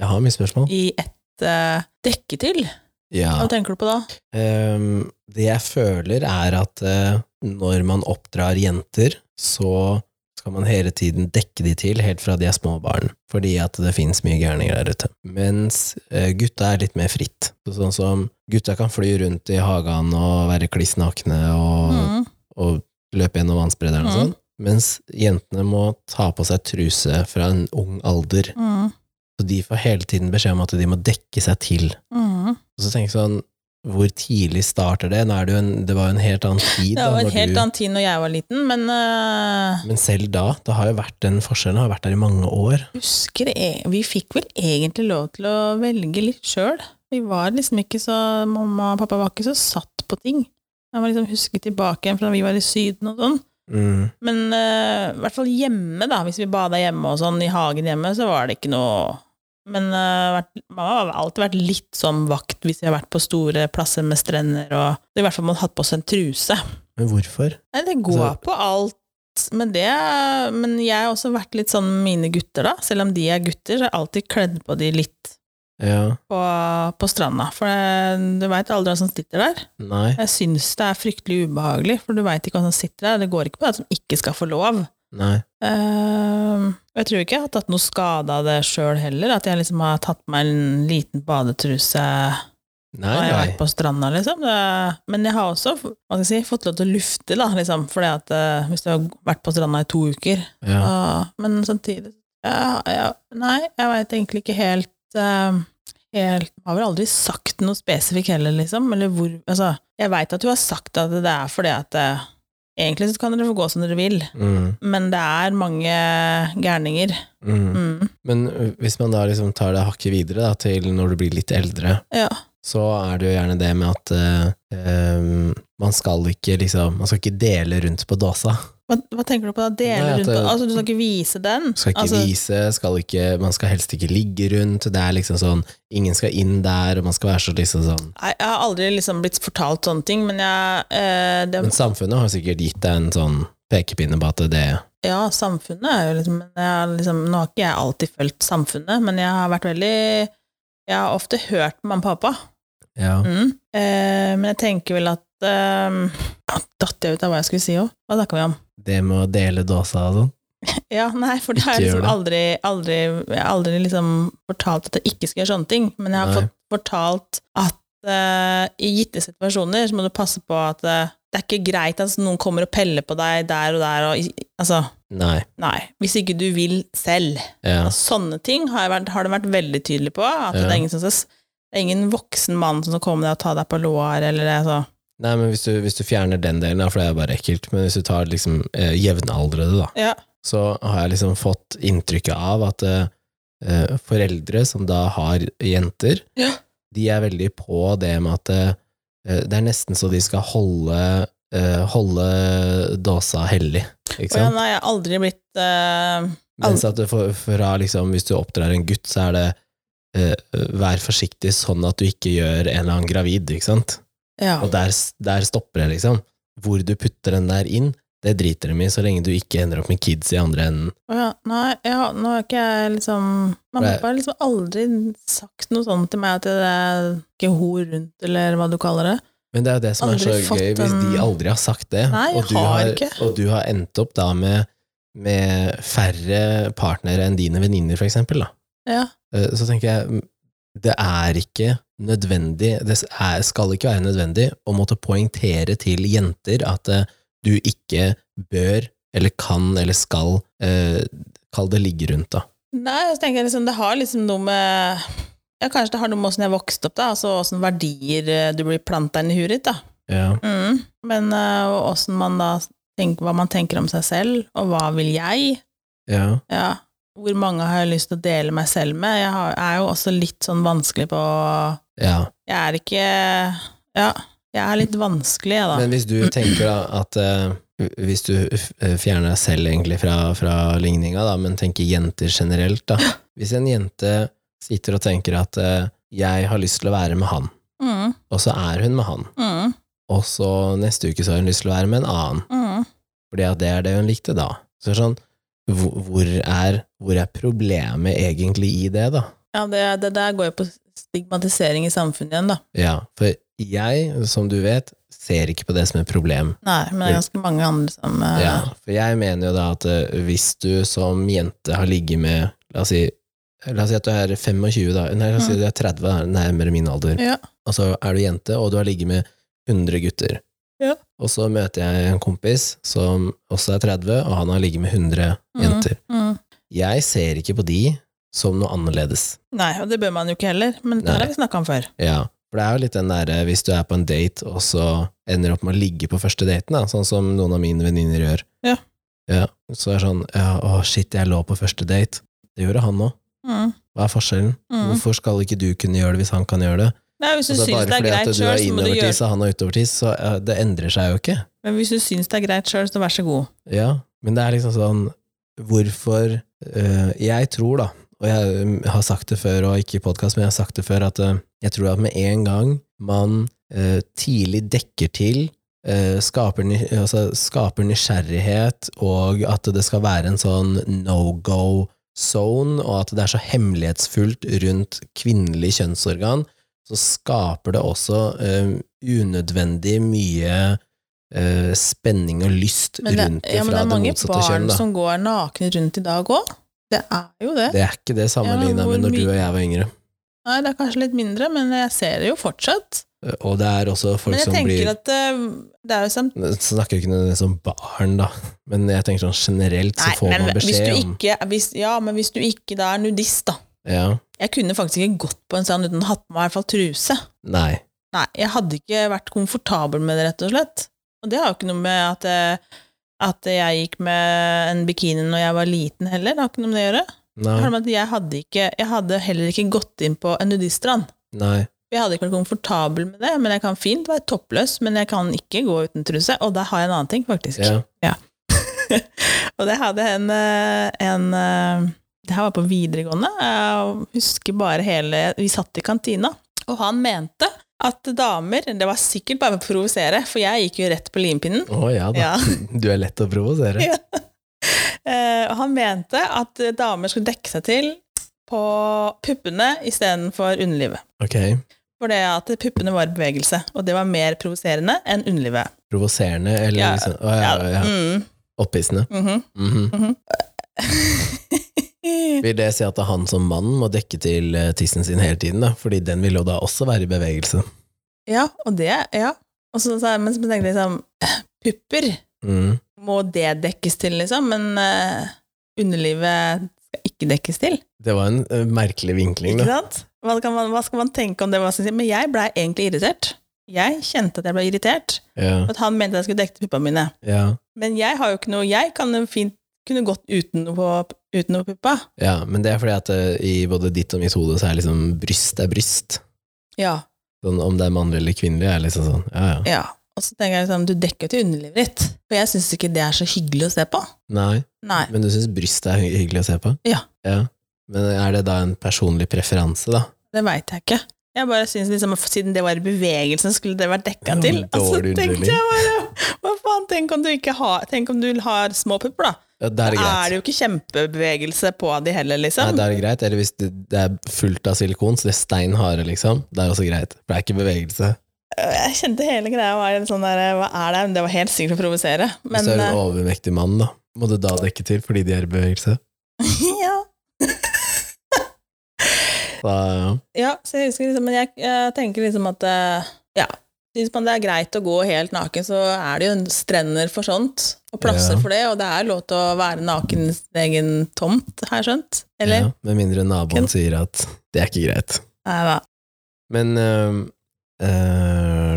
[SPEAKER 1] Jeg har mye spørsmål.
[SPEAKER 2] i ett eh, dekke til.
[SPEAKER 1] Ja.
[SPEAKER 2] Hva tenker du på da?
[SPEAKER 1] Ehm, det jeg føler er at eh, når man oppdrar jenter, så skal man hele tiden dekke de til, helt fra de er små barn, fordi at det finnes mye gærninger der ute. Mens eh, gutta er litt mer fritt. Så Sånn som gutta kan fly rundt i hagen og være kliss nakne og,
[SPEAKER 2] Mm.
[SPEAKER 1] og løpe gjennom vannsprederen og
[SPEAKER 2] Mm.
[SPEAKER 1] sånn, mens jentene må ta på seg truse fra en ung alder.
[SPEAKER 2] Mm.
[SPEAKER 1] Så de får hele tiden beskjed om at de må dekke seg til.
[SPEAKER 2] Mm.
[SPEAKER 1] Og så tenker jeg sånn, hvor tidlig starter det? Nå er det, jo en, det var jo en helt annen tid.
[SPEAKER 2] Det var
[SPEAKER 1] da,
[SPEAKER 2] en
[SPEAKER 1] når
[SPEAKER 2] helt
[SPEAKER 1] du,
[SPEAKER 2] annen tid når jeg var liten, men eh,
[SPEAKER 1] Men selv da, det har jo vært den forskjellen, har vært der i mange år.
[SPEAKER 2] husker jeg, vi fikk vel egentlig lov til å velge litt sjøl. Vi var liksom ikke så Mamma og pappa var ikke så satt på ting. Jeg må liksom huske tilbake igjen fra da vi var i Syden og sånn.
[SPEAKER 1] Mm.
[SPEAKER 2] Men eh, i hvert fall hjemme, da, hvis vi bada hjemme og sånn, i hagen hjemme, så var det ikke noe Men eh, vært, mamma har alltid vært litt sånn vakt hvis vi har vært på store plasser med strender, og i hvert fall man hatt på oss en truse.
[SPEAKER 1] Men hvorfor?
[SPEAKER 2] Nei, det går
[SPEAKER 1] Altså-
[SPEAKER 2] på alt. Men, det, men jeg har også vært litt sånn med mine gutter, da. Selv om de er gutter, så har jeg alltid kledd på de litt
[SPEAKER 1] Ja,
[SPEAKER 2] på, på stranda. For det, du veit aldri hvem som sitter der.
[SPEAKER 1] nei,
[SPEAKER 2] Jeg syns det er fryktelig ubehagelig, for du veit ikke hvem som sitter der. Det går ikke på at de ikke skal få lov.
[SPEAKER 1] nei.
[SPEAKER 2] Eh, og jeg tror ikke jeg har tatt noe skade av det sjøl heller, at jeg liksom har tatt meg en liten badetruse
[SPEAKER 1] Nei,
[SPEAKER 2] når jeg har
[SPEAKER 1] nei.
[SPEAKER 2] vært på stranda, liksom. Det, men jeg har også hva skal jeg si, fått lov til å lufte, da, liksom, fordi at eh, hvis du har vært på stranda i to uker
[SPEAKER 1] Ja.
[SPEAKER 2] ah, Men samtidig ja, ja, Nei, jeg veit egentlig ikke helt eh, Helt Jeg har vel aldri sagt noe spesifikt heller, liksom. Eller hvor Altså, jeg veit at du har sagt at det er fordi at eh, Egentlig så kan dere få gå som dere vil,
[SPEAKER 1] Mm,
[SPEAKER 2] men det er mange gærninger.
[SPEAKER 1] mm.
[SPEAKER 2] Mm.
[SPEAKER 1] Men ø, hvis man da liksom tar det hakket videre da, til når du blir litt eldre,
[SPEAKER 2] Ja.
[SPEAKER 1] så er det jo gjerne det med at ø, ø, man skal ikke liksom, man skal ikke dele rundt på dåsa.
[SPEAKER 2] Hva, hva tenker du på da? Dele
[SPEAKER 1] Nei, at
[SPEAKER 2] rundt på
[SPEAKER 1] det-
[SPEAKER 2] Altså, du skal ikke vise den?
[SPEAKER 1] Skal ikke
[SPEAKER 2] altså,
[SPEAKER 1] vise, skal ikke, man skal helst ikke ligge rundt. Det er liksom sånn Ingen skal inn der, og man skal være så liksom sånn
[SPEAKER 2] Nei, jeg har aldri liksom blitt fortalt sånne ting, men jeg eh, det,
[SPEAKER 1] Men samfunnet har sikkert gitt deg en sånn pekepinne på at det
[SPEAKER 2] Ja, samfunnet er jo liksom, men jeg, har liksom Nå har ikke jeg alltid fulgt samfunnet, men jeg har vært veldig Jeg har ofte hørt på mamma og pappa.
[SPEAKER 1] Ja.
[SPEAKER 2] Mm. Eh, men jeg tenker vel at eh, ja, Datt jeg ut av hva jeg skulle si òg? Hva snakka vi om?
[SPEAKER 1] Det med å dele dåsa og sånn.
[SPEAKER 2] Ja, nei, for det har jeg
[SPEAKER 1] Ikke gjør
[SPEAKER 2] liksom aldri, aldri, jeg har aldri liksom fortalt at jeg ikke skal gjøre sånne ting. Men jeg har
[SPEAKER 1] Nei.
[SPEAKER 2] fått fortalt at eh, i gitte situasjoner så må du passe på at eh, det er ikke greit at noen kommer og peller på deg der og der. Og, i- altså,
[SPEAKER 1] Nei.
[SPEAKER 2] nei, hvis ikke du vil selv.
[SPEAKER 1] Ja.
[SPEAKER 2] Sånne ting har, jeg vært, har det vært veldig tydelig på. At
[SPEAKER 1] Ja.
[SPEAKER 2] det, er ingen som skal, s- det er ingen voksen mann som skal komme deg og ta deg på lår. Eller det, altså.
[SPEAKER 1] Nei, men hvis du, hvis du fjerner den delen, da, for det er bare ekkelt, men hvis du tar liksom eh, jevnaldrende, da,
[SPEAKER 2] ja.
[SPEAKER 1] så har jeg liksom fått inntrykket av at eh, eh, foreldre som da har jenter,
[SPEAKER 2] Ja.
[SPEAKER 1] de er veldig på det med at eh, det er nesten så de skal holde, eh, holde dåsa hellig.
[SPEAKER 2] Og
[SPEAKER 1] Ikke
[SPEAKER 2] ja,
[SPEAKER 1] sant?
[SPEAKER 2] nei, jeg har aldri blitt eh,
[SPEAKER 1] Mens at det for, fra liksom, hvis du oppdrar en gutt, så er det eh, vær forsiktig sånn at du ikke gjør en eller annen gravid, ikke sant?
[SPEAKER 2] ja.
[SPEAKER 1] Og der, der stopper det, liksom. Hvor du putter den der inn, Det driter de i, så lenge du ikke ender opp med kids i andre enden.
[SPEAKER 2] Å ja, nei, jeg har- nå har ikke jeg liksom Mamma og
[SPEAKER 1] Nei.
[SPEAKER 2] pappa har liksom aldri sagt noe sånt til meg at det er ikke hor rundt, eller hva du kaller det.
[SPEAKER 1] Men det er jo det som er
[SPEAKER 2] Aldri
[SPEAKER 1] så
[SPEAKER 2] fått
[SPEAKER 1] gøy, hvis de
[SPEAKER 2] en-
[SPEAKER 1] aldri har sagt det,
[SPEAKER 2] Nei,
[SPEAKER 1] og, du
[SPEAKER 2] har
[SPEAKER 1] har,
[SPEAKER 2] ikke.
[SPEAKER 1] og du har endt opp da med, med færre partnere enn dine venninner, for eksempel, da.
[SPEAKER 2] Ja.
[SPEAKER 1] Eh, så tenker jeg mm, det er ikke nødvendig, det er, skal ikke være nødvendig å måtte poengtere til jenter at eh, du ikke bør, eller kan, eller skal eh, Kall det ligge rundt, da.
[SPEAKER 2] Nei, så tenker jeg liksom, det har liksom noe med ja, Kanskje det har noe med åssen jeg vokste opp, da. Altså åssen verdier eh, du blir planta inn i huet ditt, da.
[SPEAKER 1] Ja.
[SPEAKER 2] Mm. Men eh, og åssen man da tenker, Hva man tenker om seg selv, og hva vil jeg?
[SPEAKER 1] ja.
[SPEAKER 2] Ja. Hvor mange har jeg lyst til å dele meg selv med? Jeg har, er jo også litt sånn vanskelig på
[SPEAKER 1] ja.
[SPEAKER 2] Jeg er ikke Ja, jeg er litt vanskelig, jeg, da.
[SPEAKER 1] Men hvis du tenker da at eh, Hvis du f- eh, fjerner deg selv egentlig fra, fra ligninga, da, men tenker jenter generelt, da. Hvis en jente sitter og tenker at eh, 'jeg har lyst til å være med han',
[SPEAKER 2] Mm,
[SPEAKER 1] og så er hun med han,
[SPEAKER 2] mm,
[SPEAKER 1] og så neste uke så har hun lyst til å være med en annen,
[SPEAKER 2] mm.
[SPEAKER 1] fordi at det er det hun likte da. Så det er sånn, hvor, hvor, er, hvor er problemet egentlig i det, da?
[SPEAKER 2] Ja, det, det der går jo på stigmatisering i samfunnet igjen, da.
[SPEAKER 1] Ja, for jeg, som du vet, ser ikke på det som et problem.
[SPEAKER 2] Nei, men det er ganske mange andre som eh,
[SPEAKER 1] Ja, for jeg mener jo da at eh, hvis du som jente har ligget med La oss si, la oss si at du er 25, da. Nei, la oss si
[SPEAKER 2] Mm.
[SPEAKER 1] du er 30, da, nærmere min alder.
[SPEAKER 2] Ja.
[SPEAKER 1] Og så er du jente, og du har ligget med 100 gutter.
[SPEAKER 2] Ja.
[SPEAKER 1] Og så møter jeg en kompis som også er 30, og han har ligget med 100
[SPEAKER 2] Mm.
[SPEAKER 1] jenter.
[SPEAKER 2] Mm.
[SPEAKER 1] Jeg ser ikke på de som noe annerledes.
[SPEAKER 2] Nei, og det bør man jo ikke heller, men det
[SPEAKER 1] Nei.
[SPEAKER 2] har vi snakka om før.
[SPEAKER 1] Ja, for det er jo litt den derre hvis du er på en date, og så ender opp med å ligge på første daten, da, sånn som noen av mine venninner gjør.
[SPEAKER 2] Ja.
[SPEAKER 1] Ja, så er det sånn ja, å shit, jeg lå på første date. Det gjorde han òg.
[SPEAKER 2] Mm.
[SPEAKER 1] Hva er forskjellen?
[SPEAKER 2] Mm.
[SPEAKER 1] Hvorfor skal ikke du kunne gjøre det hvis han kan gjøre det?
[SPEAKER 2] Nei, hvis du
[SPEAKER 1] Altså,
[SPEAKER 2] syns det er
[SPEAKER 1] at
[SPEAKER 2] greit
[SPEAKER 1] du
[SPEAKER 2] sjøl,
[SPEAKER 1] er
[SPEAKER 2] så må du gjøre
[SPEAKER 1] innovertiss og han er utovertiss, så eh, det endrer seg jo ikke.
[SPEAKER 2] Men hvis du syns det er greit sjøl, så vær så god.
[SPEAKER 1] Ja, men det er liksom sånn Hvorfor eh, Jeg tror da, og jeg mm, har sagt det før, og ikke i podkast, men jeg har sagt det før, at eh, jeg tror at med en gang man eh, tidlig dekker til eh, Skaper, ny- altså, skaper nysgjerrighet, og at det skal være en sånn no go zone, og at det er så hemmelighetsfullt rundt kvinnelig kjønnsorgan, så skaper det også eh, unødvendig mye eh, spenning og lyst
[SPEAKER 2] Men det,
[SPEAKER 1] rundt det
[SPEAKER 2] ja,
[SPEAKER 1] fra
[SPEAKER 2] men det
[SPEAKER 1] det,
[SPEAKER 2] er mange
[SPEAKER 1] motsatte
[SPEAKER 2] barn
[SPEAKER 1] kjønn. Da.
[SPEAKER 2] som går nakne rundt i dag òg. Det er jo det.
[SPEAKER 1] Det er ikke det
[SPEAKER 2] Ja,
[SPEAKER 1] sammenligna
[SPEAKER 2] hvor
[SPEAKER 1] med når du
[SPEAKER 2] mye-
[SPEAKER 1] og jeg var yngre.
[SPEAKER 2] Nei, det er kanskje litt mindre, men jeg ser det jo fortsatt.
[SPEAKER 1] Eh, Og det er også folk
[SPEAKER 2] Men jeg
[SPEAKER 1] som
[SPEAKER 2] tenker
[SPEAKER 1] blir
[SPEAKER 2] at eh, det er jo samt...
[SPEAKER 1] Nå Snakker jeg ikke nødvendigvis om barn, da, men jeg tenker sånn generelt så
[SPEAKER 2] Nei,
[SPEAKER 1] får
[SPEAKER 2] men
[SPEAKER 1] man
[SPEAKER 2] hvis
[SPEAKER 1] beskjed
[SPEAKER 2] du
[SPEAKER 1] om
[SPEAKER 2] ikke hvis, Ja, men hvis du ikke da er nudist, da.
[SPEAKER 1] Ja.
[SPEAKER 2] Jeg kunne faktisk ikke gått på en sånn uten å ha hatt på meg i hvert fall truse.
[SPEAKER 1] Nei.
[SPEAKER 2] Nei, jeg hadde ikke vært komfortabel med det, rett og slett. Og det har jo ikke noe med at, eh, at jeg gikk med en bikini når jeg var liten heller, det har ikke noe med det å gjøre.
[SPEAKER 1] Nei.
[SPEAKER 2] Det har med at jeg hadde, ikke, jeg hadde heller ikke gått inn på en nudiststrand.
[SPEAKER 1] Nei.
[SPEAKER 2] Jeg hadde ikke vært komfortabel med det, men jeg kan fint være toppløs, men jeg kan ikke gå uten truse. Og der har jeg en annen ting, faktisk.
[SPEAKER 1] Ja.
[SPEAKER 2] Og det hadde en, eh, en eh, Det her var på videregående. Jeg husker bare hele Vi satt i kantina, og han mente at damer Det var sikkert bare for å provosere, for jeg gikk jo rett på limpinnen.
[SPEAKER 1] Å ja da.
[SPEAKER 2] Ja.
[SPEAKER 1] Du er lett å provosere.
[SPEAKER 2] Ja. Eh, Og han mente at damer skulle dekke seg til på puppene istedenfor underlivet.
[SPEAKER 1] Ok.
[SPEAKER 2] For det at puppene var i bevegelse, og det var mer provoserende enn underlivet.
[SPEAKER 1] Provoserende eller
[SPEAKER 2] Ja.
[SPEAKER 1] liksom Å ja, ja.
[SPEAKER 2] Mm,
[SPEAKER 1] Opphissende.
[SPEAKER 2] mhm.
[SPEAKER 1] Mhm. Vil det si at han som mann må dekke til eh, tissen sin hele tiden, da? Fordi den vil jo da også være i bevegelse.
[SPEAKER 2] Ja, og det, ja. Og så, så, men så tenkte jeg liksom Pupper,
[SPEAKER 1] Mm.
[SPEAKER 2] må det dekkes til, liksom? Men eh, underlivet skal ikke dekkes til,
[SPEAKER 1] Det var en eh, merkelig vinkling,
[SPEAKER 2] ikke
[SPEAKER 1] da.
[SPEAKER 2] sant? Hva, kan man, hva skal man tenke om det? Hva skal jeg si? Men jeg blei egentlig irritert. Jeg kjente at jeg ble irritert,
[SPEAKER 1] Ja,
[SPEAKER 2] for at han mente jeg skulle dekke til puppa mine.
[SPEAKER 1] ja,
[SPEAKER 2] Men jeg har jo ikke noe Jeg kan jo fint kunne gått uten noe, på- uten noe puppa.
[SPEAKER 1] ja. Men det er fordi at eh, i både ditt og mitt hode så er liksom bryst er bryst.
[SPEAKER 2] Ja,
[SPEAKER 1] Sånn, om det er mannlig eller kvinnelig, er liksom sånn ja, ja.
[SPEAKER 2] ja. Og så tenker jeg liksom, du dekker jo til underlivet ditt. For jeg syns ikke det er så hyggelig å se på.
[SPEAKER 1] Nei.
[SPEAKER 2] Nei.
[SPEAKER 1] Men du syns bryst er hy- hyggelig å se på?
[SPEAKER 2] Ja.
[SPEAKER 1] Men er det da en personlig preferanse, da?
[SPEAKER 2] Det veit jeg ikke. Jeg bare synes liksom at Siden det var i bevegelsen, skulle det vært dekka
[SPEAKER 1] Ja,
[SPEAKER 2] til.
[SPEAKER 1] men
[SPEAKER 2] Og så
[SPEAKER 1] dårlig
[SPEAKER 2] tenkte jeg bare Hva faen, tenk om du, ikke har, tenk om du har små pupper, da.
[SPEAKER 1] Ja, da er det
[SPEAKER 2] Da
[SPEAKER 1] greit.
[SPEAKER 2] er det jo ikke kjempebevegelse på de heller,
[SPEAKER 1] Nei,
[SPEAKER 2] liksom.
[SPEAKER 1] da er det greit. Eller hvis det, det er fullt av silikon, så det er stein harde, liksom. Det er også greit. For det er ikke bevegelse.
[SPEAKER 2] Jeg kjente hele greia var en sånn der Hva er det? Men Det var helt sikkert å provosere.
[SPEAKER 1] hvis
[SPEAKER 2] Men
[SPEAKER 1] du er
[SPEAKER 2] eh,
[SPEAKER 1] en overmektig mann, da, må du da dekke til fordi de er i bevegelse.
[SPEAKER 2] ja.
[SPEAKER 1] Da, ja.
[SPEAKER 2] ja, så jeg husker liksom Men jeg, jeg tenker liksom at eh, Ja. Syns man det er greit å gå helt naken, så er det jo en strender for sånt, og plasser
[SPEAKER 1] Ja.
[SPEAKER 2] for det, og det er lov til å være naken i sin egen tomt, har jeg skjønt? Eller?
[SPEAKER 1] ja. Med mindre naboen
[SPEAKER 2] Kun-
[SPEAKER 1] sier at det er ikke greit.
[SPEAKER 2] Nei da.
[SPEAKER 1] Men øhm, øh,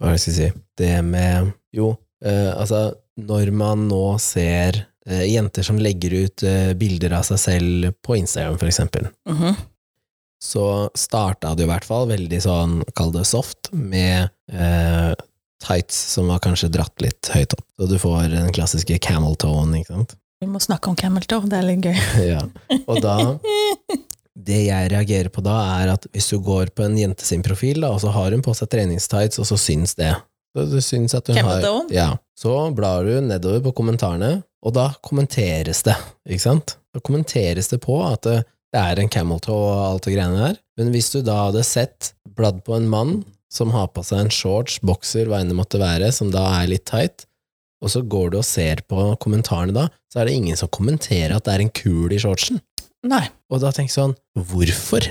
[SPEAKER 1] Hva var det jeg skulle si? Det med Jo, øh, altså Når man nå ser øh, jenter som legger ut øh, bilder av seg selv på Instagram, for eksempel,
[SPEAKER 2] Mhm.
[SPEAKER 1] så starta det i hvert fall veldig sånn, kall det soft, med eh, tights som var kanskje dratt litt høyt opp. Så du får den klassiske camel tone, ikke sant?
[SPEAKER 2] Vi må snakke om camel toe, det er litt gøy.
[SPEAKER 1] ja. Og da Det jeg reagerer på da, er at hvis du går på en jente sin profil, da, og så har hun på seg treningstights, og så syns det. Så du syns at hun
[SPEAKER 2] Camel
[SPEAKER 1] har
[SPEAKER 2] toe?
[SPEAKER 1] Ja. Så blar du nedover på kommentarene, og da kommenteres det, ikke sant? Da kommenteres det på at det, det er en camel toe og alt det greiene der. Men hvis du da hadde sett bladd på en mann som har på seg en shorts, bokser, hva enn det måtte være, som da er litt tight, og så går du og ser på kommentarene da, så er det ingen som kommenterer at det er en kul i shortsen.
[SPEAKER 2] Nei.
[SPEAKER 1] Og da tenker jeg sånn, hvorfor?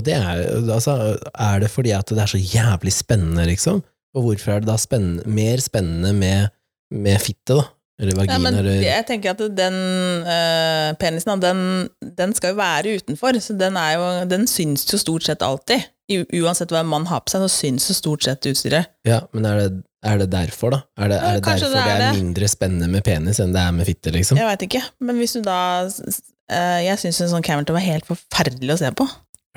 [SPEAKER 1] Og det er, altså, er det fordi at det er så jævlig spennende, liksom? Og hvorfor er det da spennende, mer spennende med, med fitte, da? Eller
[SPEAKER 2] Ja,
[SPEAKER 1] vagina,
[SPEAKER 2] men
[SPEAKER 1] eller
[SPEAKER 2] jeg tenker at den eh, penisen, da, den, den skal jo være utenfor, så den, er jo, den syns jo stort sett alltid. U uansett hva en mann har på seg, så syns jo stort sett utstyret.
[SPEAKER 1] Ja, men er det, er det derfor, da? Er det,
[SPEAKER 2] Ja,
[SPEAKER 1] er det
[SPEAKER 2] kanskje
[SPEAKER 1] derfor
[SPEAKER 2] det
[SPEAKER 1] det
[SPEAKER 2] er
[SPEAKER 1] er,
[SPEAKER 2] det.
[SPEAKER 1] mindre spennende med penis enn det er med fitte, liksom?
[SPEAKER 2] Jeg veit ikke, men hvis du da s- s- eh, Jeg syns en sånn Camerton var helt forferdelig å se på.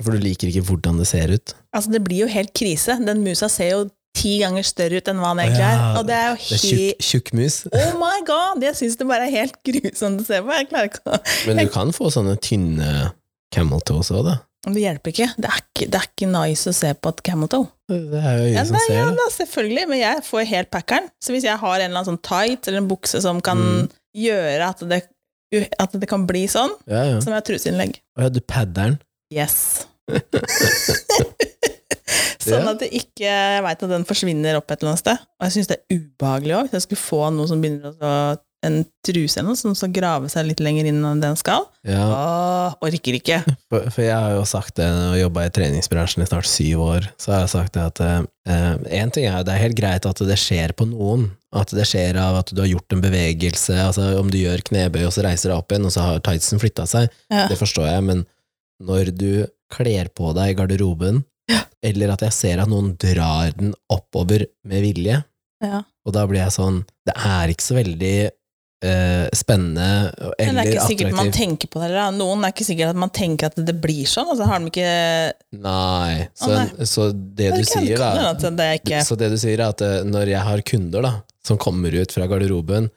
[SPEAKER 1] For du liker ikke hvordan det ser ut.
[SPEAKER 2] Altså, det blir jo helt krise. Den musa ser jo ti ganger større ut enn hva den
[SPEAKER 1] Å
[SPEAKER 2] egentlig er,
[SPEAKER 1] ja,
[SPEAKER 2] og det er
[SPEAKER 1] Det
[SPEAKER 2] jo
[SPEAKER 1] er
[SPEAKER 2] helt
[SPEAKER 1] tjukk, tjukkmus.
[SPEAKER 2] Oh my god! Jeg syns det bare er helt grusomt å se på. Jeg klarer ikke å
[SPEAKER 1] Men du kan få sånne tynne camel toes òg, da.
[SPEAKER 2] Men Det hjelper ikke. Det er ikke, det er ikke nice å se på et camel toe.
[SPEAKER 1] Det er jo
[SPEAKER 2] Ja,
[SPEAKER 1] øyet som
[SPEAKER 2] nei, ja,
[SPEAKER 1] ser det.
[SPEAKER 2] da, selvfølgelig, men jeg får helt packeren. Så hvis jeg har en eller annen sånn tight eller en bukse som kan
[SPEAKER 1] Mm.
[SPEAKER 2] gjøre at det, at det kan bli sånn,
[SPEAKER 1] Ja, ja.
[SPEAKER 2] som er truseinnlegg.
[SPEAKER 1] Å ja, du padder'n.
[SPEAKER 2] Yes. sånn
[SPEAKER 1] Ja.
[SPEAKER 2] at det ikke Jeg veit at den forsvinner opp et eller annet sted. Og jeg syns det er ubehagelig òg, hvis jeg skulle få noe som begynner å så- en truse eller noe som skal grave seg litt lenger inn enn den skal.
[SPEAKER 1] Ja.
[SPEAKER 2] Åh, orker ikke.
[SPEAKER 1] For, for jeg har jo sagt det, og jobba i treningsbransjen i snart syv år, så har jeg sagt det at én ting er det er helt greit at det skjer på noen, at det skjer av at du har gjort en bevegelse, altså om du gjør knebøy og så reiser deg opp igjen, og så har tightsen flytta seg,
[SPEAKER 2] Ja.
[SPEAKER 1] det forstår jeg, men når du kler på deg i garderoben, eller at jeg ser at noen drar den oppover med vilje,
[SPEAKER 2] Ja.
[SPEAKER 1] og da blir jeg sånn Det er ikke så veldig eh, spennende
[SPEAKER 2] Men det er
[SPEAKER 1] eller
[SPEAKER 2] ikke sikkert man
[SPEAKER 1] attraktivt.
[SPEAKER 2] tenker på det. Eller da. noen er ikke sikkert at man tenker at det blir sånn. Altså, har de ikke
[SPEAKER 1] Nei. Så,
[SPEAKER 2] Å, nei.
[SPEAKER 1] så det
[SPEAKER 2] Men
[SPEAKER 1] du
[SPEAKER 2] det kan-
[SPEAKER 1] sier,
[SPEAKER 2] kan
[SPEAKER 1] da
[SPEAKER 2] hende at det er ikke
[SPEAKER 1] Så det du sier er at eh, når jeg har kunder da, som kommer ut fra garderoben,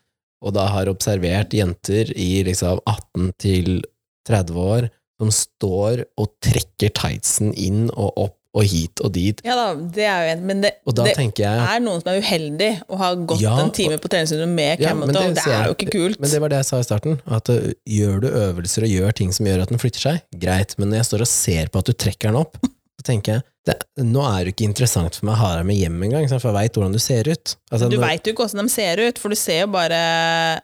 [SPEAKER 1] og da har observert jenter i liksom 18 til 30 år, som står og trekker tightsen inn og opp og hit og dit,
[SPEAKER 2] Ja da, det er jo en Men det,
[SPEAKER 1] og da
[SPEAKER 2] det
[SPEAKER 1] tenker jeg at-
[SPEAKER 2] er noen som er uheldig og har gått
[SPEAKER 1] Ja,
[SPEAKER 2] en time på treningsstudio med
[SPEAKER 1] Ja,
[SPEAKER 2] camel
[SPEAKER 1] men
[SPEAKER 2] toe.
[SPEAKER 1] det
[SPEAKER 2] Det,
[SPEAKER 1] ser jeg.
[SPEAKER 2] er jo ikke kult.
[SPEAKER 1] Men det var det jeg sa i starten, at eh, gjør du øvelser og gjør ting som gjør at den flytter seg, greit, men når jeg står og ser på at du trekker den opp, så tenker jeg, det, nå er det ikke interessant for meg å ha deg med hjem engang, sant, for jeg vet hvordan du ser ut. Altså,
[SPEAKER 2] du
[SPEAKER 1] når-
[SPEAKER 2] veit jo ikke åssen de ser ut, for du ser jo bare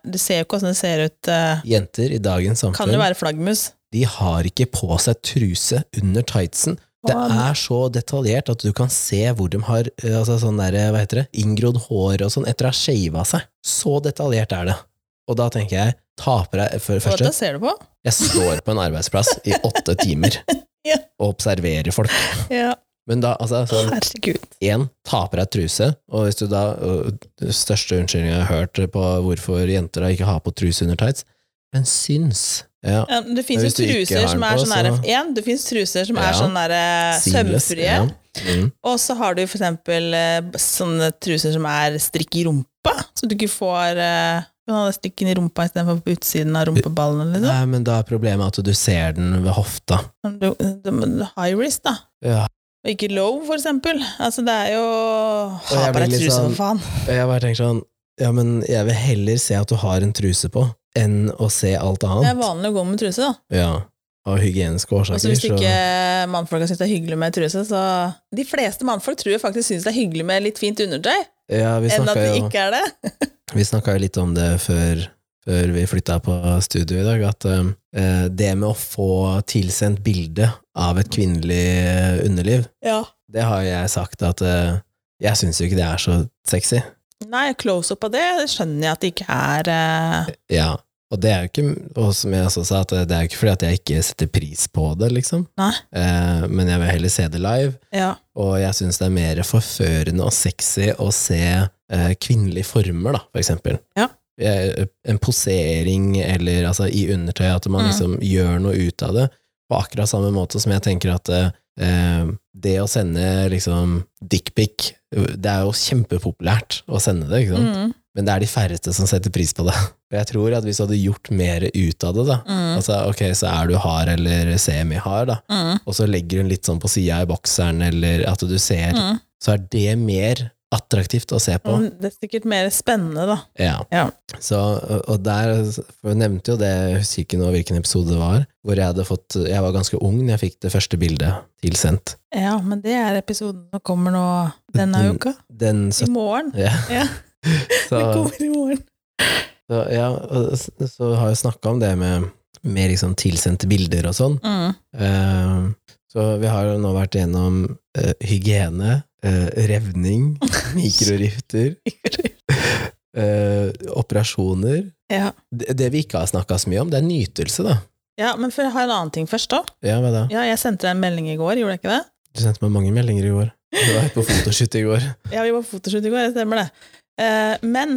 [SPEAKER 2] Du ser jo ikke åssen de ser ut. eh,
[SPEAKER 1] Jenter i dagens samfunn
[SPEAKER 2] Kan jo være flaggermus.
[SPEAKER 1] De har ikke på seg truse under tightsen. Det
[SPEAKER 2] Faen.
[SPEAKER 1] er så detaljert at du kan se hvor de har eh, altså sånn der, hva heter det, inngrodd hår og sånn etter å ha shava seg. Så detaljert er det. Og da tenker jeg, ta på deg For det
[SPEAKER 2] Og dette
[SPEAKER 1] første,
[SPEAKER 2] ser du på?
[SPEAKER 1] jeg står på en arbeidsplass i åtte timer
[SPEAKER 2] Ja.
[SPEAKER 1] og observerer folk.
[SPEAKER 2] Ja,
[SPEAKER 1] Men da, altså sånn
[SPEAKER 2] herregud.
[SPEAKER 1] Én, ta på deg truse, og hvis du da og Den største unnskyldningen jeg har hørt på hvorfor jenter da ikke har på truse under tights, men syns. Ja,
[SPEAKER 2] Ja, men det fins jo
[SPEAKER 1] hvis du ikke har
[SPEAKER 2] truser som
[SPEAKER 1] den
[SPEAKER 2] er
[SPEAKER 1] på,
[SPEAKER 2] sånn derre
[SPEAKER 1] så-
[SPEAKER 2] Én, det fins truser som
[SPEAKER 1] Ja.
[SPEAKER 2] er sånn derre
[SPEAKER 1] seamless,
[SPEAKER 2] sømfrie.
[SPEAKER 1] ja. Mm.
[SPEAKER 2] Og så har du for eksempel eh, sånne truser som er strikk i rumpa, så du ikke får eh, du kan ha strikken i rumpa istedenfor på utsiden av rumpeballene. Liksom.
[SPEAKER 1] Nei, men da er problemet at du ser den ved hofta.
[SPEAKER 2] Men Du, du, du, high risk, da.
[SPEAKER 1] Ja.
[SPEAKER 2] Og ikke low, for eksempel. Altså, det er jo
[SPEAKER 1] jeg
[SPEAKER 2] Ha på
[SPEAKER 1] blir
[SPEAKER 2] deg
[SPEAKER 1] litt
[SPEAKER 2] truse,
[SPEAKER 1] sånn-
[SPEAKER 2] for faen.
[SPEAKER 1] Jeg bare tenker sånn Ja, men jeg vil heller se at du har en truse på, enn å se alt
[SPEAKER 2] Det er
[SPEAKER 1] annet.
[SPEAKER 2] vanlig å gå med truse, da.
[SPEAKER 1] Ja, Av hygieniske årsaker.
[SPEAKER 2] Altså, hvis
[SPEAKER 1] så-
[SPEAKER 2] ikke mannfolka syns det er hyggelig med truse, så De fleste mannfolk tror jeg faktisk syns det er hyggelig med litt fint undertøy,
[SPEAKER 1] ja, vi
[SPEAKER 2] enn at
[SPEAKER 1] snakka
[SPEAKER 2] det
[SPEAKER 1] jo,
[SPEAKER 2] ikke er det.
[SPEAKER 1] vi snakket jo litt om det før, før vi flytta på studio i dag, at eh, det med å få tilsendt bilde av et kvinnelig eh, underliv,
[SPEAKER 2] Ja.
[SPEAKER 1] det har jeg sagt at eh, jeg syns jo ikke det er så sexy.
[SPEAKER 2] Nei, close up av det skjønner jeg at det ikke er eh,
[SPEAKER 1] Ja, og det er jo ikke Og som jeg også sa, at det er jo ikke fordi at jeg ikke setter pris på det, liksom.
[SPEAKER 2] Nei.
[SPEAKER 1] Eh, men jeg vil heller se det live,
[SPEAKER 2] Ja.
[SPEAKER 1] og jeg syns det er mer forførende og sexy å se eh, kvinnelige former, da, for eksempel.
[SPEAKER 2] Ja.
[SPEAKER 1] Eh, En posering eller altså i undertøy, at man
[SPEAKER 2] Mm.
[SPEAKER 1] liksom gjør noe ut av det. På akkurat samme måte som jeg tenker at eh, det å sende liksom dickpic Det er jo kjempepopulært å sende det, ikke sant?
[SPEAKER 2] Mm,
[SPEAKER 1] Men det er de færreste som setter pris på det. Og jeg tror at hvis du hadde gjort mer ut av det, da
[SPEAKER 2] mm,
[SPEAKER 1] Altså, ok, så er du hard eller semi-hard, da,
[SPEAKER 2] mm,
[SPEAKER 1] og så legger hun litt sånn på sida i bokseren, eller at du ser
[SPEAKER 2] mm.
[SPEAKER 1] Så er det mer attraktivt å se på.
[SPEAKER 2] Men Det er sikkert mer spennende, da.
[SPEAKER 1] Ja.
[SPEAKER 2] Ja.
[SPEAKER 1] Så, og- og der for Jeg nevnte jo det, jeg husker ikke nå hvilken episode det var, hvor jeg hadde fått Jeg var ganske ung da jeg fikk det første bildet tilsendt.
[SPEAKER 2] Ja, men det er episoden som kommer nå denne
[SPEAKER 1] Den-
[SPEAKER 2] uka.
[SPEAKER 1] Den
[SPEAKER 2] I
[SPEAKER 1] sytten
[SPEAKER 2] morgen.
[SPEAKER 1] ja.
[SPEAKER 2] Ja.
[SPEAKER 1] Mm. Så-
[SPEAKER 2] Den kommer i morgen.
[SPEAKER 1] Så, ja, og s- så har jeg snakka om det med, med liksom tilsendte bilder og sånn.
[SPEAKER 2] Mm,
[SPEAKER 1] Eh, så vi har jo nå vært gjennom eh, hygiene, eh, revning, mikrorifter, eh, operasjoner.
[SPEAKER 2] ja.
[SPEAKER 1] Det, det vi ikke har snakka så mye om, det er nytelse, da.
[SPEAKER 2] ja, men for jeg har en annen ting først, da.
[SPEAKER 1] Ja, hva da?
[SPEAKER 2] Ja, jeg sendte deg en melding i går, gjorde jeg ikke det?
[SPEAKER 1] Du sendte meg mange meldinger i går. Du var på fotoshoot i går.
[SPEAKER 2] Ja, vi var på fotoshoot i går, det stemmer det. Eh, men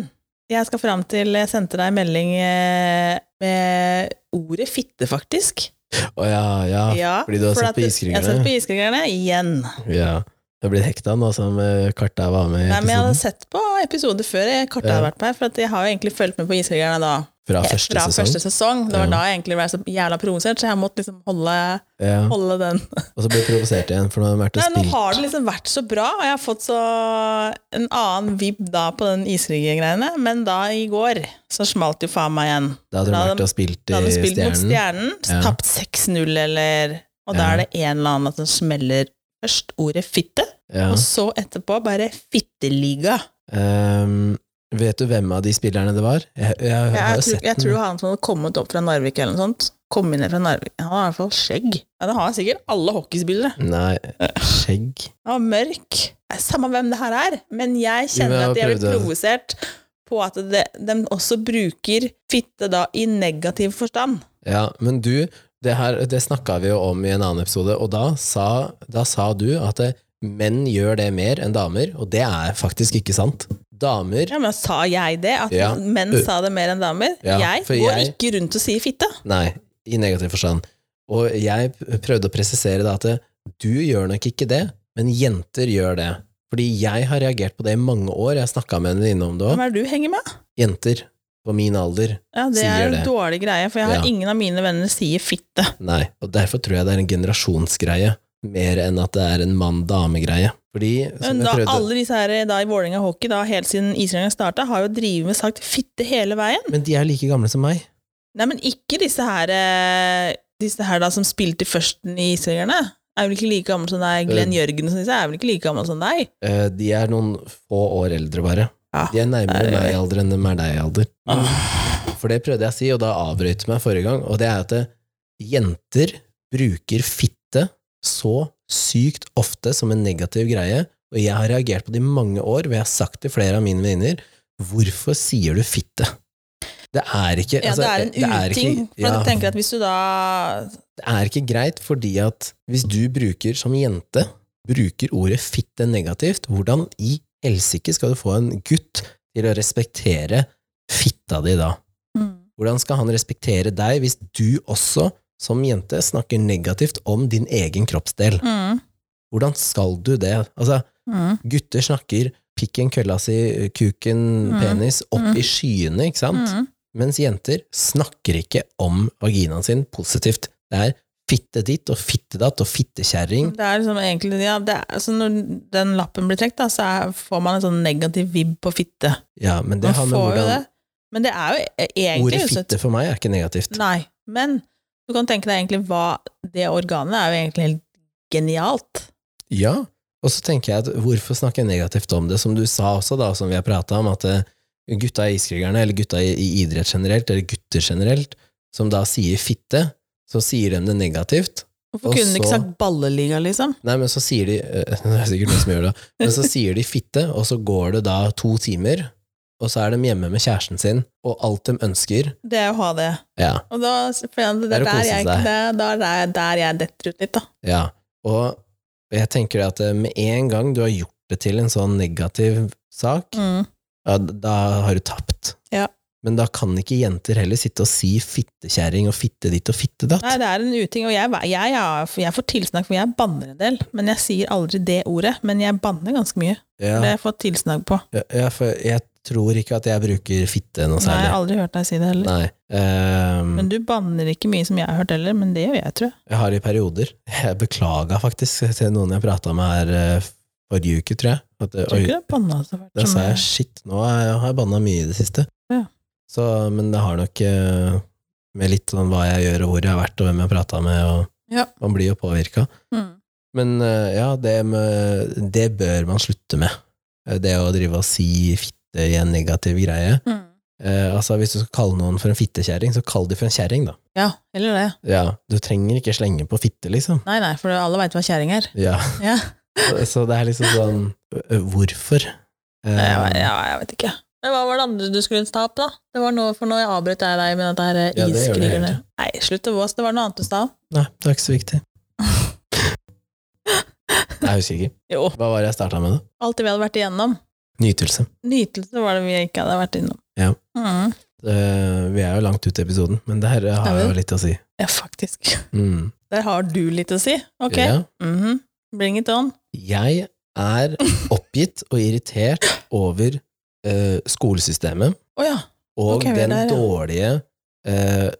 [SPEAKER 2] jeg skal fram til Jeg sendte deg en melding eh, med ordet fitte, faktisk.
[SPEAKER 1] Å ja, ja.
[SPEAKER 2] Ja,
[SPEAKER 1] Ah, fordi du har
[SPEAKER 2] for
[SPEAKER 1] sett
[SPEAKER 2] at
[SPEAKER 1] på
[SPEAKER 2] Jeg har sett
[SPEAKER 1] Iskrigerne?
[SPEAKER 2] på Iskrigerne igjen.
[SPEAKER 1] ja. Du har blitt hekta nå som eh, Karta var med i
[SPEAKER 2] Nei, men jeg hadde
[SPEAKER 1] episoden?
[SPEAKER 2] sett på episoder før jeg kort har
[SPEAKER 1] Ja.
[SPEAKER 2] vært med, for at jeg har jo egentlig fulgt med på Iskrigerne da.
[SPEAKER 1] Fra
[SPEAKER 2] helt
[SPEAKER 1] første
[SPEAKER 2] fra
[SPEAKER 1] sesong?
[SPEAKER 2] første sesong. Det var
[SPEAKER 1] Ja.
[SPEAKER 2] da jeg egentlig ble så jævla provosert, så jeg måtte liksom holde,
[SPEAKER 1] Ja.
[SPEAKER 2] holde den.
[SPEAKER 1] Og så ble jeg provosert igjen, for nå har hun vært og
[SPEAKER 2] Nei, nå
[SPEAKER 1] spilt
[SPEAKER 2] har det liksom vært så bra, og jeg har fått så en annen vibb da på den Iskrigerne-greiene, men da i går så smalt jo faen meg igjen.
[SPEAKER 1] Da hadde hun
[SPEAKER 2] Da hadde-
[SPEAKER 1] vært og spilt i
[SPEAKER 2] Da hadde hun spilt
[SPEAKER 1] Stjernen.
[SPEAKER 2] mot Stjernen,
[SPEAKER 1] Ja.
[SPEAKER 2] tapt 6-0 eller Og da
[SPEAKER 1] Ja.
[SPEAKER 2] er det en eller annen som smeller først ordet fitte,
[SPEAKER 1] Ja.
[SPEAKER 2] og så etterpå bare fitteliga.
[SPEAKER 1] Ehm, vet du hvem av de spillerne det var? Jeg, jeg,
[SPEAKER 2] Jeg,
[SPEAKER 1] har jo
[SPEAKER 2] tror,
[SPEAKER 1] sett
[SPEAKER 2] jeg tror
[SPEAKER 1] den.
[SPEAKER 2] han som hadde kommet opp fra Narvik eller noe sånt, kom inn fra Narvik Han har i hvert fall skjegg. Ja, det har sikkert alle hockeyspillere.
[SPEAKER 1] Nei, skjegg
[SPEAKER 2] Han var mørk. Det er Samme hvem det her er, men jeg
[SPEAKER 1] Jo, men
[SPEAKER 2] kjenner
[SPEAKER 1] jeg
[SPEAKER 2] at jeg blir
[SPEAKER 1] prøvde.
[SPEAKER 2] provosert på at det, de også bruker fitte da i negativ forstand.
[SPEAKER 1] Ja, men du, det her Det snakka vi jo om i en annen episode, og da sa, da sa du at eh, menn gjør det mer enn damer, og det er faktisk ikke sant. Damer
[SPEAKER 2] Ja, men sa jeg det? At
[SPEAKER 1] Ja. Øh.
[SPEAKER 2] menn sa det mer enn damer?
[SPEAKER 1] Ja,
[SPEAKER 2] jeg
[SPEAKER 1] for
[SPEAKER 2] går
[SPEAKER 1] jeg-
[SPEAKER 2] ikke rundt og sier fitte.
[SPEAKER 1] Nei, i negativ forstand. Og jeg prøvde å presisere da at eh, du gjør nok ikke det, men jenter gjør det. Fordi jeg har reagert på det i mange år, jeg har snakka med henne innom det òg.
[SPEAKER 2] Hvem er det du henger med?
[SPEAKER 1] Jenter på min alder
[SPEAKER 2] Ja, Det
[SPEAKER 1] Sier
[SPEAKER 2] er en
[SPEAKER 1] det.
[SPEAKER 2] dårlig greie, for jeg har
[SPEAKER 1] Ja.
[SPEAKER 2] ingen av mine venner sier fitte.
[SPEAKER 1] Nei, og derfor tror jeg det er en generasjonsgreie, mer enn at det er en mann-dame-greie. Fordi, som
[SPEAKER 2] Men da,
[SPEAKER 1] jeg prøvde
[SPEAKER 2] alle disse her da i Vålerenga hockey, da, helt siden isrennet starta, har jo drevet med sagt fitte hele veien.
[SPEAKER 1] Men de er like gamle som meg.
[SPEAKER 2] Nei, men ikke disse her, eh, disse her da som spilte først i isrengerne. Er vel ikke like gammel som deg.
[SPEAKER 1] Øh.
[SPEAKER 2] Glenn Jørgensen disse er vel ikke like gammel som deg.
[SPEAKER 1] Eh, De er noen få år eldre, bare.
[SPEAKER 2] Ja,
[SPEAKER 1] De er nærmere
[SPEAKER 2] det er-
[SPEAKER 1] meg i alder enn de er deg i alder. Ah, For det prøvde jeg å si, og da avbrøt du meg forrige gang, og det er at eh, jenter bruker fitte så sykt ofte som en negativ greie, og jeg har reagert på det i mange år, og jeg har sagt til flere av mine venninner Hvorfor sier du fitte? Det er ikke
[SPEAKER 2] Ja,
[SPEAKER 1] altså,
[SPEAKER 2] det er en
[SPEAKER 1] ikke-
[SPEAKER 2] uting. For
[SPEAKER 1] ja.
[SPEAKER 2] jeg tenker at hvis du da
[SPEAKER 1] det er ikke greit, fordi at hvis du bruker som jente, bruker ordet fitte negativt, hvordan i helsike skal du få en gutt til å respektere fitta di da?
[SPEAKER 2] Mm,
[SPEAKER 1] Hvordan skal han respektere deg hvis du også, som jente, snakker negativt om din egen kroppsdel?
[SPEAKER 2] Mm,
[SPEAKER 1] Hvordan skal du det? Altså,
[SPEAKER 2] mm,
[SPEAKER 1] gutter snakker pikken, kølla si, kuken,
[SPEAKER 2] Mm.
[SPEAKER 1] penis, opp
[SPEAKER 2] Mm.
[SPEAKER 1] i skyene, ikke sant?
[SPEAKER 2] mm.
[SPEAKER 1] Mens jenter snakker ikke om vaginaen sin positivt. Det er Fitte ditt og fitte datt og fittekjerring.
[SPEAKER 2] Det er liksom egentlig, ja, det er, altså når den lappen blir trukket, da, så er, får man en sånn negativ vibb på fitte.
[SPEAKER 1] Ja, men det
[SPEAKER 2] Man
[SPEAKER 1] har med
[SPEAKER 2] får jo
[SPEAKER 1] hvordan
[SPEAKER 2] det. Men det er jo e- egentlig
[SPEAKER 1] Ordet
[SPEAKER 2] jo så-
[SPEAKER 1] fitte for meg er ikke negativt.
[SPEAKER 2] Nei, men du kan tenke deg egentlig hva Det organet er jo egentlig helt genialt.
[SPEAKER 1] Ja, og så tenker jeg at hvorfor snakke negativt om det, som du sa også, da, som vi har prata om, at eh, gutta i iskrigerne, eller gutta i, i idrett generelt, eller gutter generelt, som da sier fitte, så sier de det negativt.
[SPEAKER 2] Hvorfor
[SPEAKER 1] Og
[SPEAKER 2] kunne de ikke
[SPEAKER 1] så-
[SPEAKER 2] sagt balleliga, liksom?
[SPEAKER 1] Nei, men så sier de eh, Det er sikkert noen som gjør det, men så sier de fitte, og så går det da to timer, og så er de hjemme med kjæresten sin, og alt de ønsker.
[SPEAKER 2] Det er jo å ha det.
[SPEAKER 1] Ja.
[SPEAKER 2] Og da, for det,
[SPEAKER 1] Det er
[SPEAKER 2] er
[SPEAKER 1] å
[SPEAKER 2] der,
[SPEAKER 1] kose
[SPEAKER 2] jeg,
[SPEAKER 1] seg.
[SPEAKER 2] det, der, er- der jeg detter ut litt, da.
[SPEAKER 1] Ja, og jeg tenker at eh, med en gang du har gjort det til en sånn negativ sak,
[SPEAKER 2] Mm.
[SPEAKER 1] ja, d- da har du tapt.
[SPEAKER 2] Ja.
[SPEAKER 1] Men da kan ikke jenter heller sitte og si fittekjerring og fitte ditt og fitte datt.
[SPEAKER 2] Nei, det er en uting. Og jeg, jeg, jeg, jeg får tilsnakk, for jeg banner en del. Men jeg sier aldri det ordet. Men jeg banner ganske mye. Det har
[SPEAKER 1] ja,
[SPEAKER 2] jeg fått tilsnakk på.
[SPEAKER 1] ja, ja, for jeg tror ikke at jeg bruker fitte noe
[SPEAKER 2] Nei, jeg
[SPEAKER 1] særlig.
[SPEAKER 2] har aldri hørt deg si det heller.
[SPEAKER 1] Nei. ehm,
[SPEAKER 2] Men du banner ikke mye som jeg har hørt heller, men det gjør jeg, tror jeg.
[SPEAKER 1] jeg har i perioder Jeg beklaga faktisk til noen jeg prata med her eh, forrige uke, tror jeg. At, eh,
[SPEAKER 2] Jeg tror
[SPEAKER 1] oi,
[SPEAKER 2] ikke det er banna så fælt.
[SPEAKER 1] Da
[SPEAKER 2] som
[SPEAKER 1] sa jeg
[SPEAKER 2] jeg-
[SPEAKER 1] shit, nå har jeg- har jeg banna mye i det siste.
[SPEAKER 2] Ja.
[SPEAKER 1] Så, men det har nok eh, med litt sånn hva jeg gjør og hvor jeg har vært og hvem jeg har prata med, og
[SPEAKER 2] Ja.
[SPEAKER 1] man blir jo påvirka.
[SPEAKER 2] Mm.
[SPEAKER 1] Men eh, ja, det, med, det bør man slutte med. Eh, Det å drive og si fitte i en negativ greie.
[SPEAKER 2] Mm.
[SPEAKER 1] Eh, altså Hvis du skal kalle noen for en fittekjerring, så kall de for en kjerring, da.
[SPEAKER 2] Ja, eller det.
[SPEAKER 1] Ja, Du trenger ikke slenge på fitte, liksom.
[SPEAKER 2] Nei, nei, for alle veit hva kjerring er.
[SPEAKER 1] Ja,
[SPEAKER 2] Ja.
[SPEAKER 1] Så det er liksom sånn eh, Hvorfor? Eh,
[SPEAKER 2] Nei, jeg, ja, jeg vet ikke. Men hva var det andre du skulle ta opp, da? Det var noe, for nå avbrøt jeg deg med dette her eh,
[SPEAKER 1] Ja, det gjør det
[SPEAKER 2] iskrigerne.
[SPEAKER 1] egentlig.
[SPEAKER 2] Nei, slutt å våse, det var noe annet du sa.
[SPEAKER 1] Nei, det er ikke så viktig. Nei, jeg husker ikke.
[SPEAKER 2] Jo.
[SPEAKER 1] Hva var det jeg starta med, da?
[SPEAKER 2] Alt det vi hadde vært igjennom.
[SPEAKER 1] Nytelse.
[SPEAKER 2] Nytelse var det vi ikke hadde vært innom.
[SPEAKER 1] Ja.
[SPEAKER 2] Mm.
[SPEAKER 1] Eh, vi er jo langt ute i episoden, men det her har
[SPEAKER 2] Er vi
[SPEAKER 1] jo litt å si.
[SPEAKER 2] ja, faktisk.
[SPEAKER 1] Mm.
[SPEAKER 2] Der har du litt å si. Ok.
[SPEAKER 1] Ja.
[SPEAKER 2] Mhm. Bring it on.
[SPEAKER 1] Jeg er oppgitt og irritert over eh, skolesystemet
[SPEAKER 2] Å ja.
[SPEAKER 1] og
[SPEAKER 2] Ok, vi er
[SPEAKER 1] den
[SPEAKER 2] der, ja.
[SPEAKER 1] dårlige eh,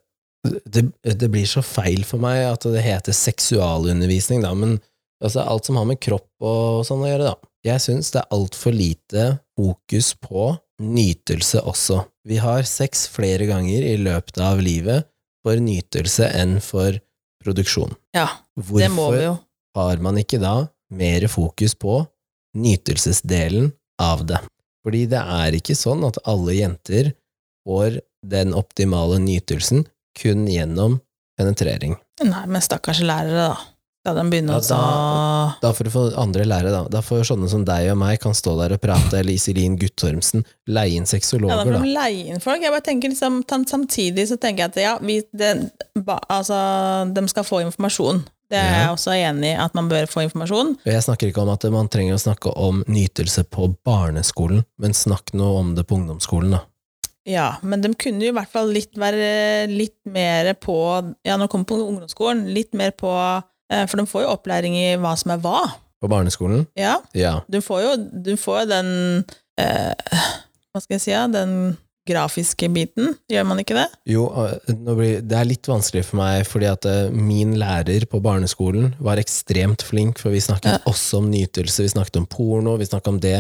[SPEAKER 1] det, det blir så feil for meg at det heter seksualundervisning, da, men altså, alt som har med kropp og sånn å gjøre, da. Jeg syns det er altfor lite fokus på nytelse også. Vi har sex flere ganger i løpet av livet for nytelse enn for produksjon.
[SPEAKER 2] Ja,
[SPEAKER 1] Hvorfor
[SPEAKER 2] Det må vi jo.
[SPEAKER 1] har man ikke da mer fokus på nytelsesdelen av det. Fordi det er ikke sånn at alle jenter får den optimale nytelsen kun gjennom penetrering.
[SPEAKER 2] Nei, men stakkars lærere, da. Skal de begynne
[SPEAKER 1] Ja,
[SPEAKER 2] å sa-
[SPEAKER 1] Da får du få andre lære, da. Da får sånne som deg og meg kan stå der og prate, eller Iselin Guttormsen, leie inn
[SPEAKER 2] Ja, da
[SPEAKER 1] sexologer,
[SPEAKER 2] får
[SPEAKER 1] da.
[SPEAKER 2] de leie inn folk. Jeg bare tenker liksom, tam- Samtidig så tenker jeg at ja, vi, det, ba, altså, de skal få informasjon. Det er
[SPEAKER 1] Ja.
[SPEAKER 2] jeg også enig i, at man bør få informasjon.
[SPEAKER 1] Og jeg snakker ikke om at man trenger å snakke om nytelse på barneskolen, men snakk nå om det på ungdomsskolen, da.
[SPEAKER 2] Ja, men de kunne jo i hvert fall litt være litt mer på Ja, når de kommer på ungdomsskolen, litt mer på eh, For de får jo opplæring i hva som er hva.
[SPEAKER 1] På barneskolen?
[SPEAKER 2] Ja,
[SPEAKER 1] Ja.
[SPEAKER 2] du får jo, du får jo den eh, Hva skal jeg si, ja, den grafiske biten. Gjør man ikke det?
[SPEAKER 1] Jo, eh, nå blir, det er litt vanskelig for meg, fordi at eh, min lærer på barneskolen var ekstremt flink, for vi snakket også om nytelse, vi snakket om porno, vi snakket om det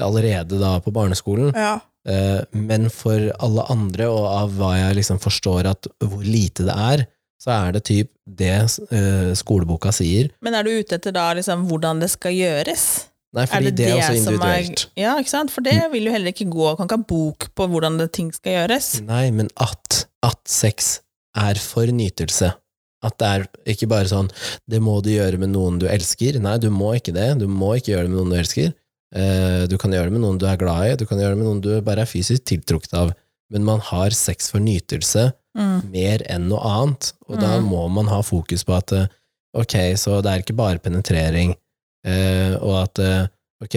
[SPEAKER 1] allerede da på barneskolen.
[SPEAKER 2] Ja.
[SPEAKER 1] Eh, Men for alle andre, og av hva jeg liksom forstår at hvor lite det er, så er det typ det eh, skoleboka sier.
[SPEAKER 2] Men er du ute etter da liksom hvordan det skal gjøres?
[SPEAKER 1] Nei, fordi det, er også
[SPEAKER 2] som
[SPEAKER 1] individuelt. Mm.
[SPEAKER 2] Er, ja, ikke sant? For det vil jo heller ikke gå. Kan ikke ha bok på hvordan det, ting skal gjøres.
[SPEAKER 1] Nei, men at, at sex er for nytelse. At det er ikke bare sånn 'det må du gjøre med noen du elsker'. Nei, du må ikke det. Du må ikke gjøre det med noen du elsker. Eh, Du kan gjøre det med noen du er glad i, du kan gjøre det med noen du bare er fysisk tiltrukket av. Men man har sex for nytelse
[SPEAKER 2] Mm.
[SPEAKER 1] mer enn noe annet, og da
[SPEAKER 2] Mm.
[SPEAKER 1] må man ha fokus på at eh, ok, så det er ikke bare penetrering, eh, og at eh, ok,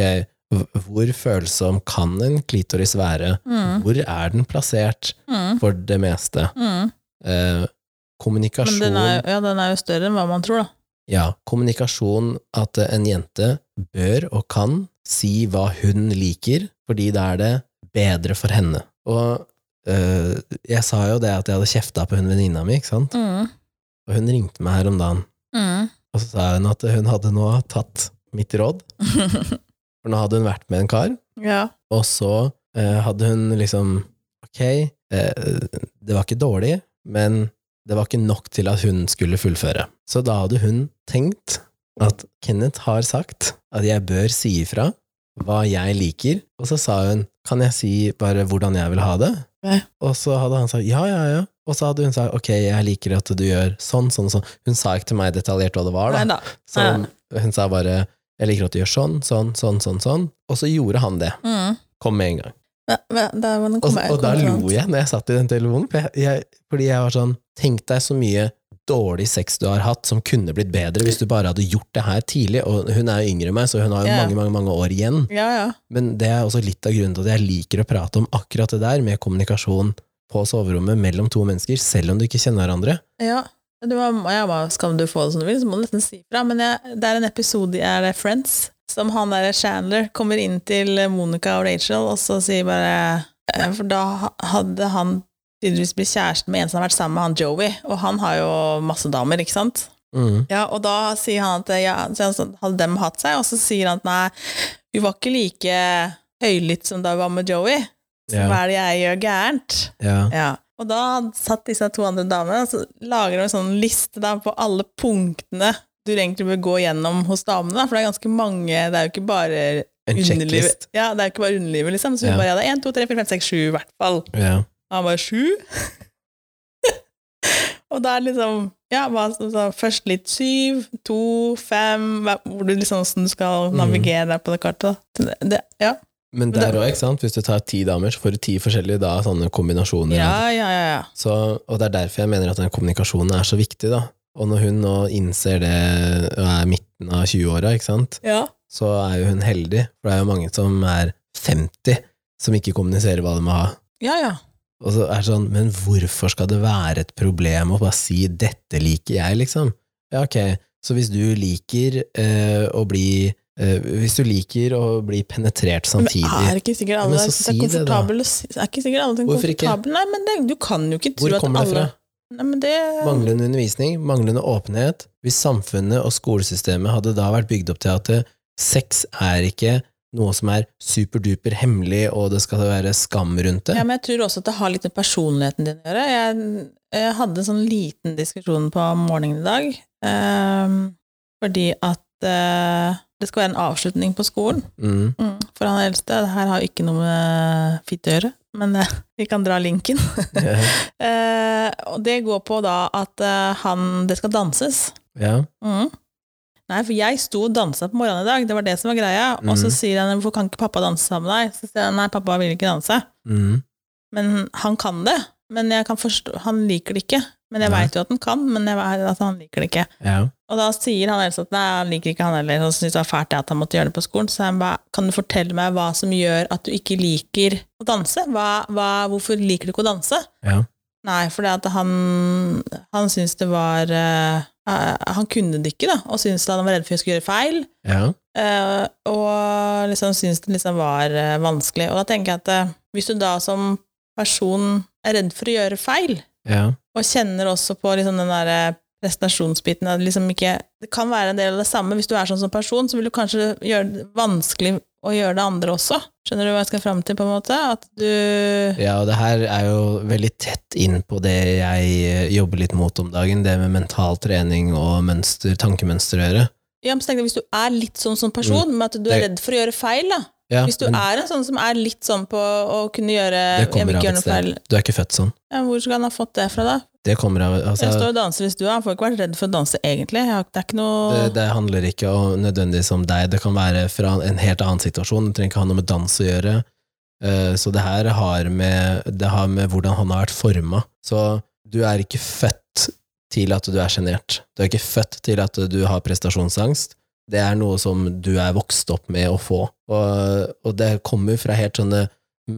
[SPEAKER 1] h- hvor følsom kan en klitoris være?
[SPEAKER 2] Mm.
[SPEAKER 1] Hvor er den plassert?
[SPEAKER 2] Mm.
[SPEAKER 1] for det meste.
[SPEAKER 2] Mm.
[SPEAKER 1] Eh,
[SPEAKER 2] Men
[SPEAKER 1] kommunikasjon
[SPEAKER 2] den er, jo- ja, den er jo større enn hva man tror, da.
[SPEAKER 1] Ja, kommunikasjon at en jente bør og kan si hva hun liker, fordi da er det bedre for henne. Og eh, jeg sa jo det at jeg hadde kjefta på hun venninna mi, ikke sant?
[SPEAKER 2] Mm.
[SPEAKER 1] Og hun ringte meg her om dagen,
[SPEAKER 2] Mm.
[SPEAKER 1] og så sa hun at hun hadde nå tatt mitt råd. For nå hadde hun vært med en kar,
[SPEAKER 2] ja.
[SPEAKER 1] og så eh, hadde hun liksom Ok, eh, det var ikke dårlig, men det var ikke nok til at hun skulle fullføre. Så da hadde hun tenkt at Kenneth har sagt at jeg bør si ifra hva jeg liker, og så sa hun kan jeg si bare hvordan jeg vil ha det?
[SPEAKER 2] Ja.
[SPEAKER 1] Og så hadde han sagt ja, ja, ja. Og så hadde hun sagt ok, jeg liker at du gjør sånn, sånn, sånn. Hun sa ikke til meg detaljert hva det var, da.
[SPEAKER 2] Nei da.
[SPEAKER 1] Så hun sa bare 'jeg liker at du gjør sånn, sånn, sånn', sånn, sånn. Og så gjorde han det.
[SPEAKER 2] Mm.
[SPEAKER 1] Kom med en gang.
[SPEAKER 2] Ja, men da var den
[SPEAKER 1] Og,
[SPEAKER 2] kom jeg-
[SPEAKER 1] og da
[SPEAKER 2] kom til
[SPEAKER 1] lo
[SPEAKER 2] annet.
[SPEAKER 1] jeg når jeg satt i den telefonen, for jeg, jeg, fordi jeg var sånn 'tenk deg så mye dårlig sex du har hatt som kunne blitt bedre hvis du bare hadde gjort det her tidlig'. Og hun er jo yngre enn meg, så hun har jo
[SPEAKER 2] Ja.
[SPEAKER 1] mange, mange, mange år igjen.
[SPEAKER 2] Ja, ja.
[SPEAKER 1] Men det er også litt av grunnen til at jeg liker å prate om akkurat det der, med kommunikasjon på soverommet mellom to mennesker, selv om du ikke kjenner hverandre.
[SPEAKER 2] ja. Du må, jeg må, skal du få det som du vil, så må du nesten si fra. Men jeg, det er en episode i er det Friends som han der Chandler kommer inn til Monica og Rachel, og så sier bare eh, For da ha- hadde han tydeligvis blitt kjæresten med en som har vært sammen med han Joey, og han har jo masse damer, ikke sant?
[SPEAKER 1] Mm.
[SPEAKER 2] Ja, og da sier han at eh, ja, så han sånn, hadde dem hatt seg, og så sier han at nei, vi var ikke like høylytt som da vi var med Joey. Så
[SPEAKER 1] Ja.
[SPEAKER 2] hva er det jeg gjør gærent?
[SPEAKER 1] Ja.
[SPEAKER 2] Ja. Og da satt disse to andre damene og så lager de en sånn liste da, på alle punktene du egentlig bør gå gjennom hos damene, da, for det er ganske mange, det er jo ikke bare
[SPEAKER 1] En
[SPEAKER 2] underlivet.
[SPEAKER 1] sjekklist.
[SPEAKER 2] Ja, det er jo ikke bare underlivet, liksom. Så hun
[SPEAKER 1] Ja.
[SPEAKER 2] bare ja, det er 1, 2, 3, 4, 5, 6, 7 i hvert fall.
[SPEAKER 1] Ja.
[SPEAKER 2] Og han bare sju. og da er det liksom ja, hva, som sa, først litt syv, to, fem hva- Hvor du liksom hvordan du skal
[SPEAKER 1] Mhm.
[SPEAKER 2] navigere deg på det kartet. da. Så Det, det, ja.
[SPEAKER 1] Men
[SPEAKER 2] Men det-
[SPEAKER 1] der òg, ikke sant? Hvis du tar ti damer, så får du ti forskjellige da, sånne kombinasjoner.
[SPEAKER 2] ja,
[SPEAKER 1] av det.
[SPEAKER 2] ja, ja, ja.
[SPEAKER 1] Så, og det er derfor jeg mener at den kommunikasjonen er så viktig, da. Og når hun nå innser det og er midten av 20-åra, ikke sant,
[SPEAKER 2] Ja,
[SPEAKER 1] så er jo hun heldig. For det er jo mange som er 50 som ikke kommuniserer hva de må ha.
[SPEAKER 2] ja. ja.
[SPEAKER 1] Og så er det sånn, men hvorfor skal det være et problem å bare si 'dette liker jeg', liksom? Ja, ok, så hvis du liker eh, å bli eh, Hvis du liker å bli penetrert samtidig
[SPEAKER 2] Men er ikke sikkert alle
[SPEAKER 1] Men så
[SPEAKER 2] synes det
[SPEAKER 1] si
[SPEAKER 2] er
[SPEAKER 1] det, da.
[SPEAKER 2] komfortable å si- Er ikke sikkert alle er
[SPEAKER 1] Hvorfor ikke?
[SPEAKER 2] komfortable? Nei, men det, du kan jo ikke tro
[SPEAKER 1] Hvor
[SPEAKER 2] at alle
[SPEAKER 1] kommer det fra?
[SPEAKER 2] Nei, men det
[SPEAKER 1] Manglende undervisning, manglende åpenhet. Hvis samfunnet og skolesystemet hadde da vært bygd opp til at eh, sex er ikke noe som er superduper hemmelig, og det skal være skam rundt
[SPEAKER 2] Ja,
[SPEAKER 1] det.
[SPEAKER 2] men jeg tror også at det har litt med personligheten din å gjøre. Jeg, jeg hadde en sånn liten diskusjon på morgenen i dag, ehm, fordi at eh, det skal være en avslutning på skolen
[SPEAKER 1] Mm.
[SPEAKER 2] for han eldste. Det her har jo ikke noe med fitte å gjøre, men eh, vi kan dra linken. Eh, og det går på da at eh, han Det skal danses.
[SPEAKER 1] Ja.
[SPEAKER 2] Mm. Nei, for jeg sto og dansa på morgenen i dag, det var det som var greia. Og så
[SPEAKER 1] Mm.
[SPEAKER 2] sier han 'hvorfor kan ikke pappa danse sammen med deg?' Så sier han 'nei, pappa vil ikke danse'.
[SPEAKER 1] Mm.
[SPEAKER 2] Men han kan det. Men jeg kan forstå, han liker det ikke. Men jeg
[SPEAKER 1] Nei.
[SPEAKER 2] veit jo at han kan, men jeg vet at han liker det ikke.
[SPEAKER 1] Ja.
[SPEAKER 2] Og da sier han ellers at nei, han liker ikke han heller, og syntes det var fælt det at han måtte gjøre det på skolen. Så han ba, kan du fortelle meg hva som gjør at du ikke liker å danse? Hva, hva, hvorfor liker du ikke å danse?
[SPEAKER 1] Ja.
[SPEAKER 2] Nei, fordi at han, han syntes det var eh, eh, Han kunne det ikke, da, og syntes at han var redd for å skulle gjøre feil.
[SPEAKER 1] Ja.
[SPEAKER 2] Eh, og liksom syntes det liksom var eh, vanskelig. Og da tenker jeg at eh, hvis du da som person er redd for å gjøre feil,
[SPEAKER 1] Ja.
[SPEAKER 2] og kjenner også på liksom den der eh, prestasjonsbiten at liksom ikke, Det kan være en del av det samme. Hvis du er sånn som person, så vil du kanskje gjøre det vanskelig å gjøre det andre også. Skjønner du hva jeg skal fram til, på en måte? At du
[SPEAKER 1] Ja, og det her er jo veldig tett inn på det jeg eh, jobber litt mot om dagen, det med mental trening og mønster, tankemønster å gjøre.
[SPEAKER 2] Ja, men så tenker jeg, Hvis du er litt sånn som person, men at du
[SPEAKER 1] Mm.
[SPEAKER 2] er
[SPEAKER 1] Det-
[SPEAKER 2] redd for å gjøre feil, da.
[SPEAKER 1] Ja,
[SPEAKER 2] Hvis du
[SPEAKER 1] men
[SPEAKER 2] er en sånn som er litt sånn på å kunne gjøre
[SPEAKER 1] det
[SPEAKER 2] jeg vil
[SPEAKER 1] kommer
[SPEAKER 2] ikke
[SPEAKER 1] av
[SPEAKER 2] gjøre
[SPEAKER 1] et
[SPEAKER 2] noe
[SPEAKER 1] sted.
[SPEAKER 2] feil.
[SPEAKER 1] Du er ikke født sånn.
[SPEAKER 2] Ja, hvor skal han ha fått det fra, da?
[SPEAKER 1] Det kommer av altså,
[SPEAKER 2] Jeg står og danser i stua. Han får ikke vært redd for å danse, egentlig. Jeg har, det er ikke noe
[SPEAKER 1] Det, det handler ikke om, nødvendigvis om deg, det kan være fra en helt annen situasjon, det trenger ikke ha noe med dans å gjøre. Eh, Så det her har med, det har med hvordan han har vært forma. Så du er ikke født til at du er sjenert. Du er ikke født til at du har prestasjonsangst. Det er noe som du er vokst opp med å få. Og, og det kommer fra helt sånne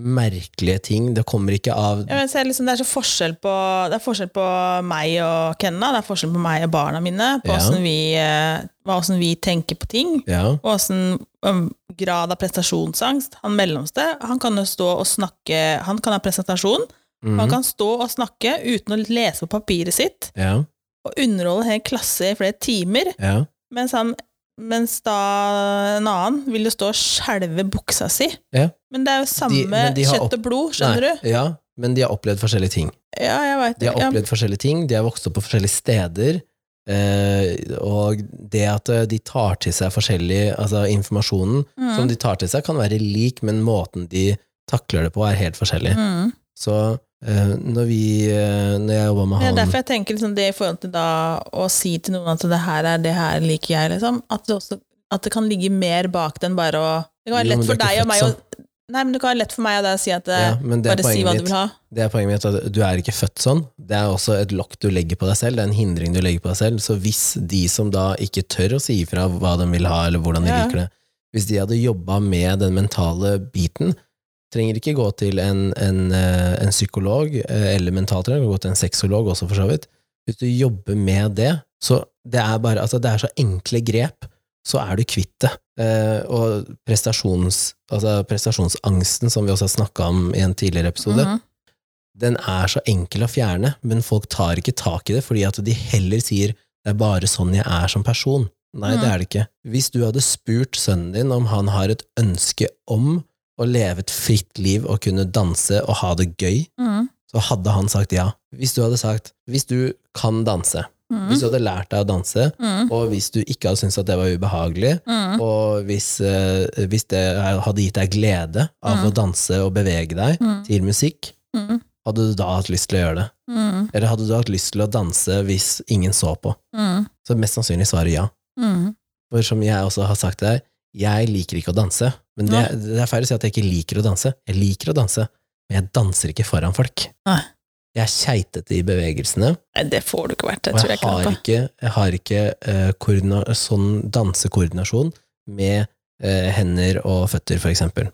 [SPEAKER 1] merkelige ting. Det kommer ikke av
[SPEAKER 2] ja, men se, liksom, det er så forskjell på Det er forskjell på meg og Kenna, det er forskjell på meg og barna mine, på
[SPEAKER 1] Ja.
[SPEAKER 2] åssen vi, eh, hva- hvordan vi tenker på ting,
[SPEAKER 1] Ja,
[SPEAKER 2] og åssen um, grad av prestasjonsangst. Han mellomste, han kan jo stå og snakke Han kan ha presentasjon,
[SPEAKER 1] mhm,
[SPEAKER 2] han kan stå og snakke uten å lese på papiret sitt.
[SPEAKER 1] ja,
[SPEAKER 2] og underholde en hel klasse i flere timer,
[SPEAKER 1] Ja.
[SPEAKER 2] mens, han, mens da en annen ville stå og skjelve buksa si.
[SPEAKER 1] Ja.
[SPEAKER 2] Men det er jo samme
[SPEAKER 1] De- men de har
[SPEAKER 2] kjøtt
[SPEAKER 1] opp-
[SPEAKER 2] og blod, skjønner
[SPEAKER 1] Nei,
[SPEAKER 2] du?
[SPEAKER 1] Ja, men de har opplevd forskjellige ting.
[SPEAKER 2] Ja, jeg veit
[SPEAKER 1] De har
[SPEAKER 2] det.
[SPEAKER 1] opplevd forskjellige ting, de har vokst opp på forskjellige steder, eh, og det at eh, de tar til seg forskjellig altså informasjonen
[SPEAKER 2] Ja. Mm.
[SPEAKER 1] som de tar til seg, kan være lik, men måten de takler det på, er helt forskjellig.
[SPEAKER 2] Mm.
[SPEAKER 1] Så eh, når vi eh, Når jeg jobba med
[SPEAKER 2] Det er
[SPEAKER 1] han
[SPEAKER 2] derfor jeg tenker liksom det i forhold til da å si til noen at det her er det her liker jeg, liksom. At det, også, at det kan ligge mer bak den bare å Det
[SPEAKER 1] Jo,
[SPEAKER 2] kan være
[SPEAKER 1] men
[SPEAKER 2] lett
[SPEAKER 1] du er
[SPEAKER 2] for
[SPEAKER 1] ikke
[SPEAKER 2] deg og
[SPEAKER 1] født
[SPEAKER 2] meg å
[SPEAKER 1] sånn.
[SPEAKER 2] Nei, men det kan være lett for meg og deg å si at
[SPEAKER 1] ja,
[SPEAKER 2] eh,
[SPEAKER 1] men det er,
[SPEAKER 2] Bare si hva
[SPEAKER 1] poenget
[SPEAKER 2] du
[SPEAKER 1] mitt,
[SPEAKER 2] vil ha.
[SPEAKER 1] det er poenget mitt at du er ikke født sånn. Det er også et lokk du legger på deg selv, det er en hindring du legger på deg selv. Så hvis de som da ikke tør å si ifra hva de vil ha, eller hvordan de
[SPEAKER 2] Ja.
[SPEAKER 1] liker det, hvis de hadde jobba med den mentale biten, trenger ikke gå til en, en, eh, en psykolog eh, eller mentaltrener, du kan gå til en sexolog også, for så vidt. Hvis du jobber med det, så det er bare altså det er så enkle grep, så er du kvitt det. Eh, og prestasjons, altså prestasjonsangsten, som vi også har snakka om i en tidligere episode,
[SPEAKER 2] mhm.
[SPEAKER 1] den er så enkel å fjerne, men folk tar ikke tak i det fordi at de heller sier det er bare sånn jeg er som person. Nei, det
[SPEAKER 2] Mm.
[SPEAKER 1] er det ikke. Hvis du hadde spurt sønnen din om han har et ønske om å leve et fritt liv og kunne danse og ha det gøy,
[SPEAKER 2] Mhm.
[SPEAKER 1] så hadde han sagt ja. Hvis du hadde sagt hvis du kan danse,
[SPEAKER 2] Mhm.
[SPEAKER 1] hvis du hadde lært deg å danse,
[SPEAKER 2] Mhm.
[SPEAKER 1] og hvis du ikke hadde syntes at det var ubehagelig,
[SPEAKER 2] Mhm.
[SPEAKER 1] og hvis, eh, hvis det hadde gitt deg glede av
[SPEAKER 2] Mm.
[SPEAKER 1] å danse og bevege deg
[SPEAKER 2] Mhm.
[SPEAKER 1] til musikk,
[SPEAKER 2] Mhm.
[SPEAKER 1] hadde du da hatt lyst til å gjøre det?
[SPEAKER 2] Mhm.
[SPEAKER 1] Eller hadde du hatt lyst til å danse hvis ingen så på?
[SPEAKER 2] Mhm.
[SPEAKER 1] Så mest sannsynlig svarer ja.
[SPEAKER 2] Mhm.
[SPEAKER 1] For som jeg også har sagt til deg, jeg liker ikke å danse. Men det, det er feil å si at jeg ikke liker å danse. Jeg liker å danse, men jeg danser ikke foran folk.
[SPEAKER 2] Nei.
[SPEAKER 1] Jeg er keitete i bevegelsene,
[SPEAKER 2] Nei, det får du ikke vært, det
[SPEAKER 1] og
[SPEAKER 2] tror jeg
[SPEAKER 1] jeg
[SPEAKER 2] ikke noe
[SPEAKER 1] har
[SPEAKER 2] på.
[SPEAKER 1] ikke, jeg har ikke eh, koordina- sånn dansekoordinasjon med eh, hender og føtter, for eksempel.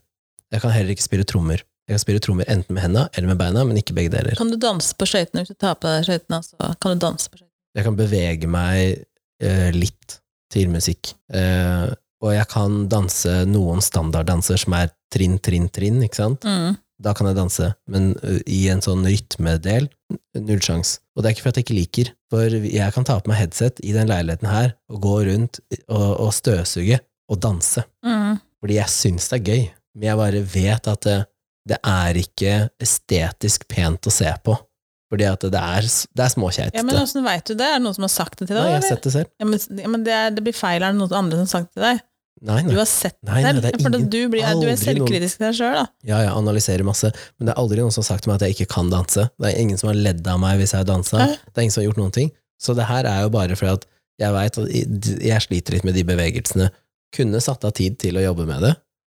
[SPEAKER 1] Jeg kan heller ikke spille trommer. Jeg kan spille trommer enten med hendene eller med beina, men ikke begge deler.
[SPEAKER 2] Kan du danse på skøytene hvis du tar på deg skøytene? Altså, kan du danse på skøytene?
[SPEAKER 1] Jeg kan bevege meg eh, litt til musikk. Eh, og jeg kan danse noen standarddanser som er trinn, trinn, trinn, ikke sant?
[SPEAKER 2] Mhm.
[SPEAKER 1] Da kan jeg danse, men eh, i en sånn rytmedel, n- null sjans. Og det er ikke for at jeg ikke liker, for jeg kan ta på meg headset i den leiligheten her, og gå rundt og, og støvsuge og danse.
[SPEAKER 2] Mhm.
[SPEAKER 1] Fordi jeg syns det er gøy, men jeg bare vet at det, det er ikke estetisk pent å se på. Fordi at det er, s- det er småkeitete.
[SPEAKER 2] Ja, men åssen veit du det? Er det noen som har sagt det til deg?
[SPEAKER 1] Nei, jeg har
[SPEAKER 2] eller?
[SPEAKER 1] sett det selv.
[SPEAKER 2] Ja, men, ja, men det, er, det blir feil. Er det noen andre som har sagt det til deg?
[SPEAKER 1] Nei, nei.
[SPEAKER 2] Du har sett det
[SPEAKER 1] Nei, nei,
[SPEAKER 2] selv?
[SPEAKER 1] det er
[SPEAKER 2] For
[SPEAKER 1] ingen-
[SPEAKER 2] du, blir, du er
[SPEAKER 1] aldri noen-
[SPEAKER 2] selvkritisk til deg sjøl, da.
[SPEAKER 1] Ja, jeg analyserer masse, men det er aldri noen som har sagt til meg at jeg ikke kan danse. Det er ingen som har ledd av meg hvis jeg har dansa.
[SPEAKER 2] Hæ?
[SPEAKER 1] Det er ingen som har gjort noen ting. Så det her er jo bare fordi at jeg veit at i- jeg sliter litt med de bevegelsene. Kunne satt av tid til å jobbe med det.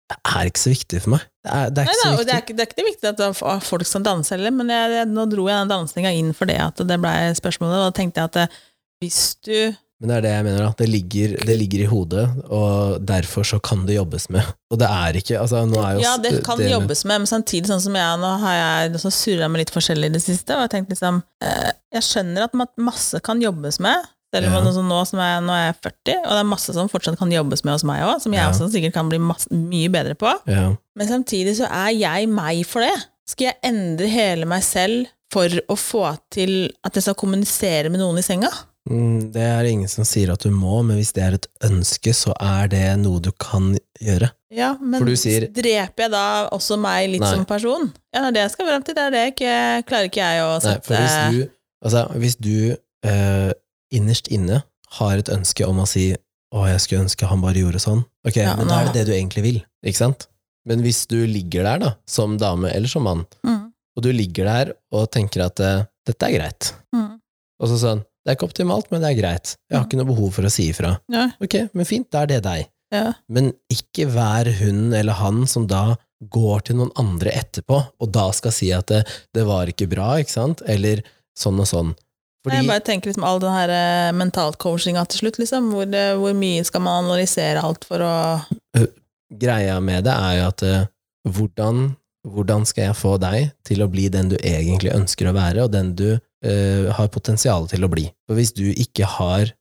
[SPEAKER 1] Det er ikke så viktig for meg. Det er, det er
[SPEAKER 2] Nei,
[SPEAKER 1] ikke
[SPEAKER 2] da,
[SPEAKER 1] så
[SPEAKER 2] og det, er
[SPEAKER 1] viktig.
[SPEAKER 2] ikke, det er ikke det viktig at det er folk som danser heller, men jeg, jeg, nå dro jeg den dansinga inn for det at det blei spørsmålet, og da tenkte jeg at eh, hvis du
[SPEAKER 1] Men det er det jeg mener, da. Det ligger, det ligger i hodet, og derfor så kan det jobbes med. Og det er ikke altså, nå er jo,
[SPEAKER 2] Ja, det kan
[SPEAKER 1] det-
[SPEAKER 2] jobbes med, men samtidig sånn som jeg nå har jeg også surra med litt forskjellig i det siste, og jeg tenkte liksom eh, Jeg skjønner at ma- masse kan jobbes med, selv om
[SPEAKER 1] Ja.
[SPEAKER 2] det er sånn nå, som jeg, nå er jeg 40, og det er masse som fortsatt kan jobbes med hos meg òg, som jeg
[SPEAKER 1] Ja.
[SPEAKER 2] også sikkert kan bli masse, mye bedre på.
[SPEAKER 1] Ja.
[SPEAKER 2] Men samtidig så er jeg meg for det. Skal jeg endre hele meg selv for å få til at jeg skal kommunisere med noen i senga?
[SPEAKER 1] Mm, Det er ingen som sier at du må, men hvis det er et ønske, så er det noe du kan gjøre.
[SPEAKER 2] Ja, men
[SPEAKER 1] For du sier-
[SPEAKER 2] dreper jeg da også meg litt
[SPEAKER 1] Nei.
[SPEAKER 2] som person? Ja, det er det jeg skal fram til. Det er det jeg ikke, klarer ikke jeg å
[SPEAKER 1] Nei, for
[SPEAKER 2] sette
[SPEAKER 1] hvis du, altså, hvis du eh, innerst inne har et ønske om å si å, jeg skulle ønske han bare gjorde sånn. Ok,
[SPEAKER 2] Ja,
[SPEAKER 1] men da
[SPEAKER 2] nå-
[SPEAKER 1] er det det du egentlig vil, ikke sant? Men hvis du ligger der da, som dame eller som mann,
[SPEAKER 2] Mm,
[SPEAKER 1] og du ligger der og tenker at eh, dette er greit,
[SPEAKER 2] mm.
[SPEAKER 1] og så sånn, det er ikke optimalt, men det er greit. Jeg har ikke noe behov for å si ifra.
[SPEAKER 2] Nei.
[SPEAKER 1] Ok, men fint, da er det deg.
[SPEAKER 2] Ja.
[SPEAKER 1] Men ikke vær hun eller han som da går til noen andre etterpå, og da skal si at det, det var ikke bra, ikke sant? Eller sånn og sånn. Fordi,
[SPEAKER 2] Jeg bare tenker liksom all den her eh, mentalcoachinga til slutt, liksom. Hvor, det, hvor mye skal man analysere alt for å
[SPEAKER 1] greia med det er jo at eh, hvordan, hvordan skal jeg få deg til å bli den du egentlig ønsker å være, og den du eh, har potensial til å bli? For hvis du ikke har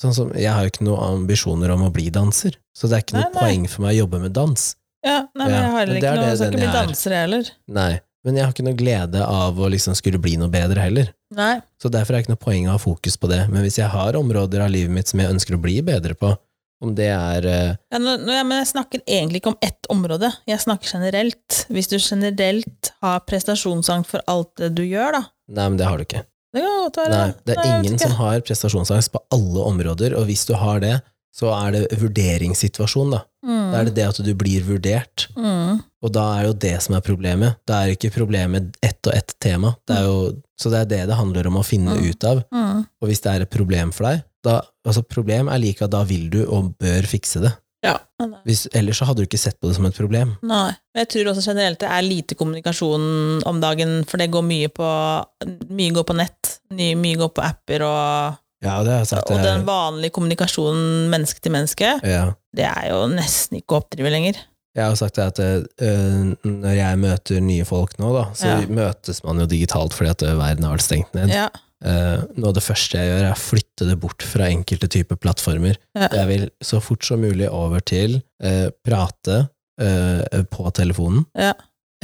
[SPEAKER 1] sånn som, Jeg har jo ikke noen ambisjoner om å bli danser, så det er ikke noe
[SPEAKER 2] Nei, nei.
[SPEAKER 1] poeng for meg å jobbe med dans.
[SPEAKER 2] Ja, nei, men
[SPEAKER 1] Ja,
[SPEAKER 2] jeg har
[SPEAKER 1] men
[SPEAKER 2] heller
[SPEAKER 1] det
[SPEAKER 2] ikke
[SPEAKER 1] er
[SPEAKER 2] noe
[SPEAKER 1] det
[SPEAKER 2] Jeg skal
[SPEAKER 1] den
[SPEAKER 2] ikke bli
[SPEAKER 1] jeg er.
[SPEAKER 2] danser, jeg heller.
[SPEAKER 1] Nei, Men jeg har ikke noe glede av å liksom skulle bli noe bedre heller.
[SPEAKER 2] Nei.
[SPEAKER 1] Så derfor er det ikke noe poeng å ha fokus på det. Men hvis jeg har områder av livet mitt som jeg ønsker å bli bedre på, om det er eh,
[SPEAKER 2] Ja, nå, nå, ja, men jeg snakker egentlig ikke om ett område, jeg snakker generelt. Hvis du generelt har prestasjonsangst for alt det du gjør, da.
[SPEAKER 1] Nei, men det har du ikke.
[SPEAKER 2] Det kan godt være.
[SPEAKER 1] Nei, det
[SPEAKER 2] jeg
[SPEAKER 1] er
[SPEAKER 2] vet
[SPEAKER 1] ingen
[SPEAKER 2] ikke.
[SPEAKER 1] som har prestasjonsangst på alle områder, og hvis du har det, så er det vurderingssituasjon, da.
[SPEAKER 2] mm.
[SPEAKER 1] Da er det det at du blir vurdert.
[SPEAKER 2] Mm.
[SPEAKER 1] Og da er jo det som er problemet. Da er ikke problemet ett og ett tema. Det er jo, så det er det det handler om å finne
[SPEAKER 2] Mm.
[SPEAKER 1] ut av.
[SPEAKER 2] Mm.
[SPEAKER 1] Og hvis det er et problem for deg, da, altså problem er like at da vil du og bør fikse det.
[SPEAKER 2] Ja.
[SPEAKER 1] Hvis, ellers så hadde du ikke sett på det som et problem.
[SPEAKER 2] Nei. Men jeg tror også generelt det er lite kommunikasjon om dagen, for det går mye på Mye går på nett, ny- mye går på apper, og,
[SPEAKER 1] Ja, det har jeg sagt. eh,
[SPEAKER 2] og
[SPEAKER 1] det er-
[SPEAKER 2] den vanlige kommunikasjonen menneske til menneske,
[SPEAKER 1] ja.
[SPEAKER 2] det er jo nesten ikke å oppdrive lenger.
[SPEAKER 1] Jeg har jo sagt det at øh, når jeg møter nye folk nå, da, så
[SPEAKER 2] Ja.
[SPEAKER 1] møtes man jo digitalt fordi at øh, verden har vært stengt ned.
[SPEAKER 2] Ja.
[SPEAKER 1] Eh, noe av det første jeg gjør, er å flytte det bort fra enkelte typer plattformer.
[SPEAKER 2] Ja.
[SPEAKER 1] Jeg vil så fort som mulig over til eh, prate eh, på telefonen,
[SPEAKER 2] Ja.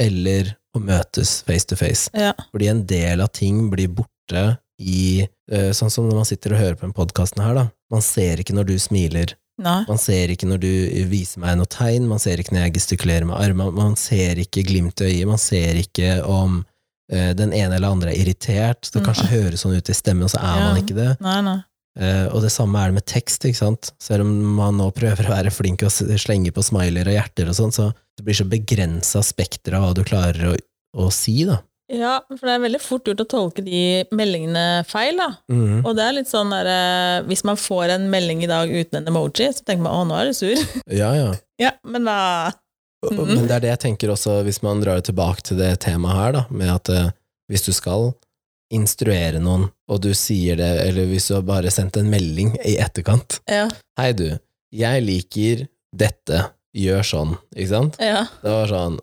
[SPEAKER 1] eller å møtes face to face.
[SPEAKER 2] Ja.
[SPEAKER 1] Fordi en del av ting blir borte i eh, Sånn som når man sitter og hører på den podkasten her, da. Man ser ikke når du smiler,
[SPEAKER 2] Nei.
[SPEAKER 1] man ser ikke når du viser meg noe tegn, man ser ikke når jeg gestikulerer med armene, man ser ikke glimt i øyet, man ser ikke om eh, den ene eller andre er irritert, det
[SPEAKER 2] Mm.
[SPEAKER 1] kanskje høres sånn ut i stemmen, og så er
[SPEAKER 2] Ja.
[SPEAKER 1] man ikke det.
[SPEAKER 2] Nei, nei.
[SPEAKER 1] Eh, og det samme er det med tekst, ikke sant? Selv om man nå prøver å være flink og s- slenge på smiler og hjerter og sånn, så det blir så begrensa spekter av hva du klarer å, å si, da.
[SPEAKER 2] Ja, for det er veldig fort gjort å tolke de meldingene feil, da.
[SPEAKER 1] Mm.
[SPEAKER 2] Og det er litt sånn der, eh, hvis man får en melding i dag uten en emoji, så tenker man å, nå er du sur.
[SPEAKER 1] Ja, ja.
[SPEAKER 2] ja, men da
[SPEAKER 1] Og- og-
[SPEAKER 2] Mhm.
[SPEAKER 1] Men det er det jeg tenker også, hvis man drar det tilbake til det temaet her, da, med at eh, hvis du skal instruere noen, og du sier det, eller hvis du har bare sendt en melding i etterkant
[SPEAKER 2] Ja.
[SPEAKER 1] Hei, du, jeg liker dette, gjør sånn, ikke sant?
[SPEAKER 2] Ja.
[SPEAKER 1] Det var sånn,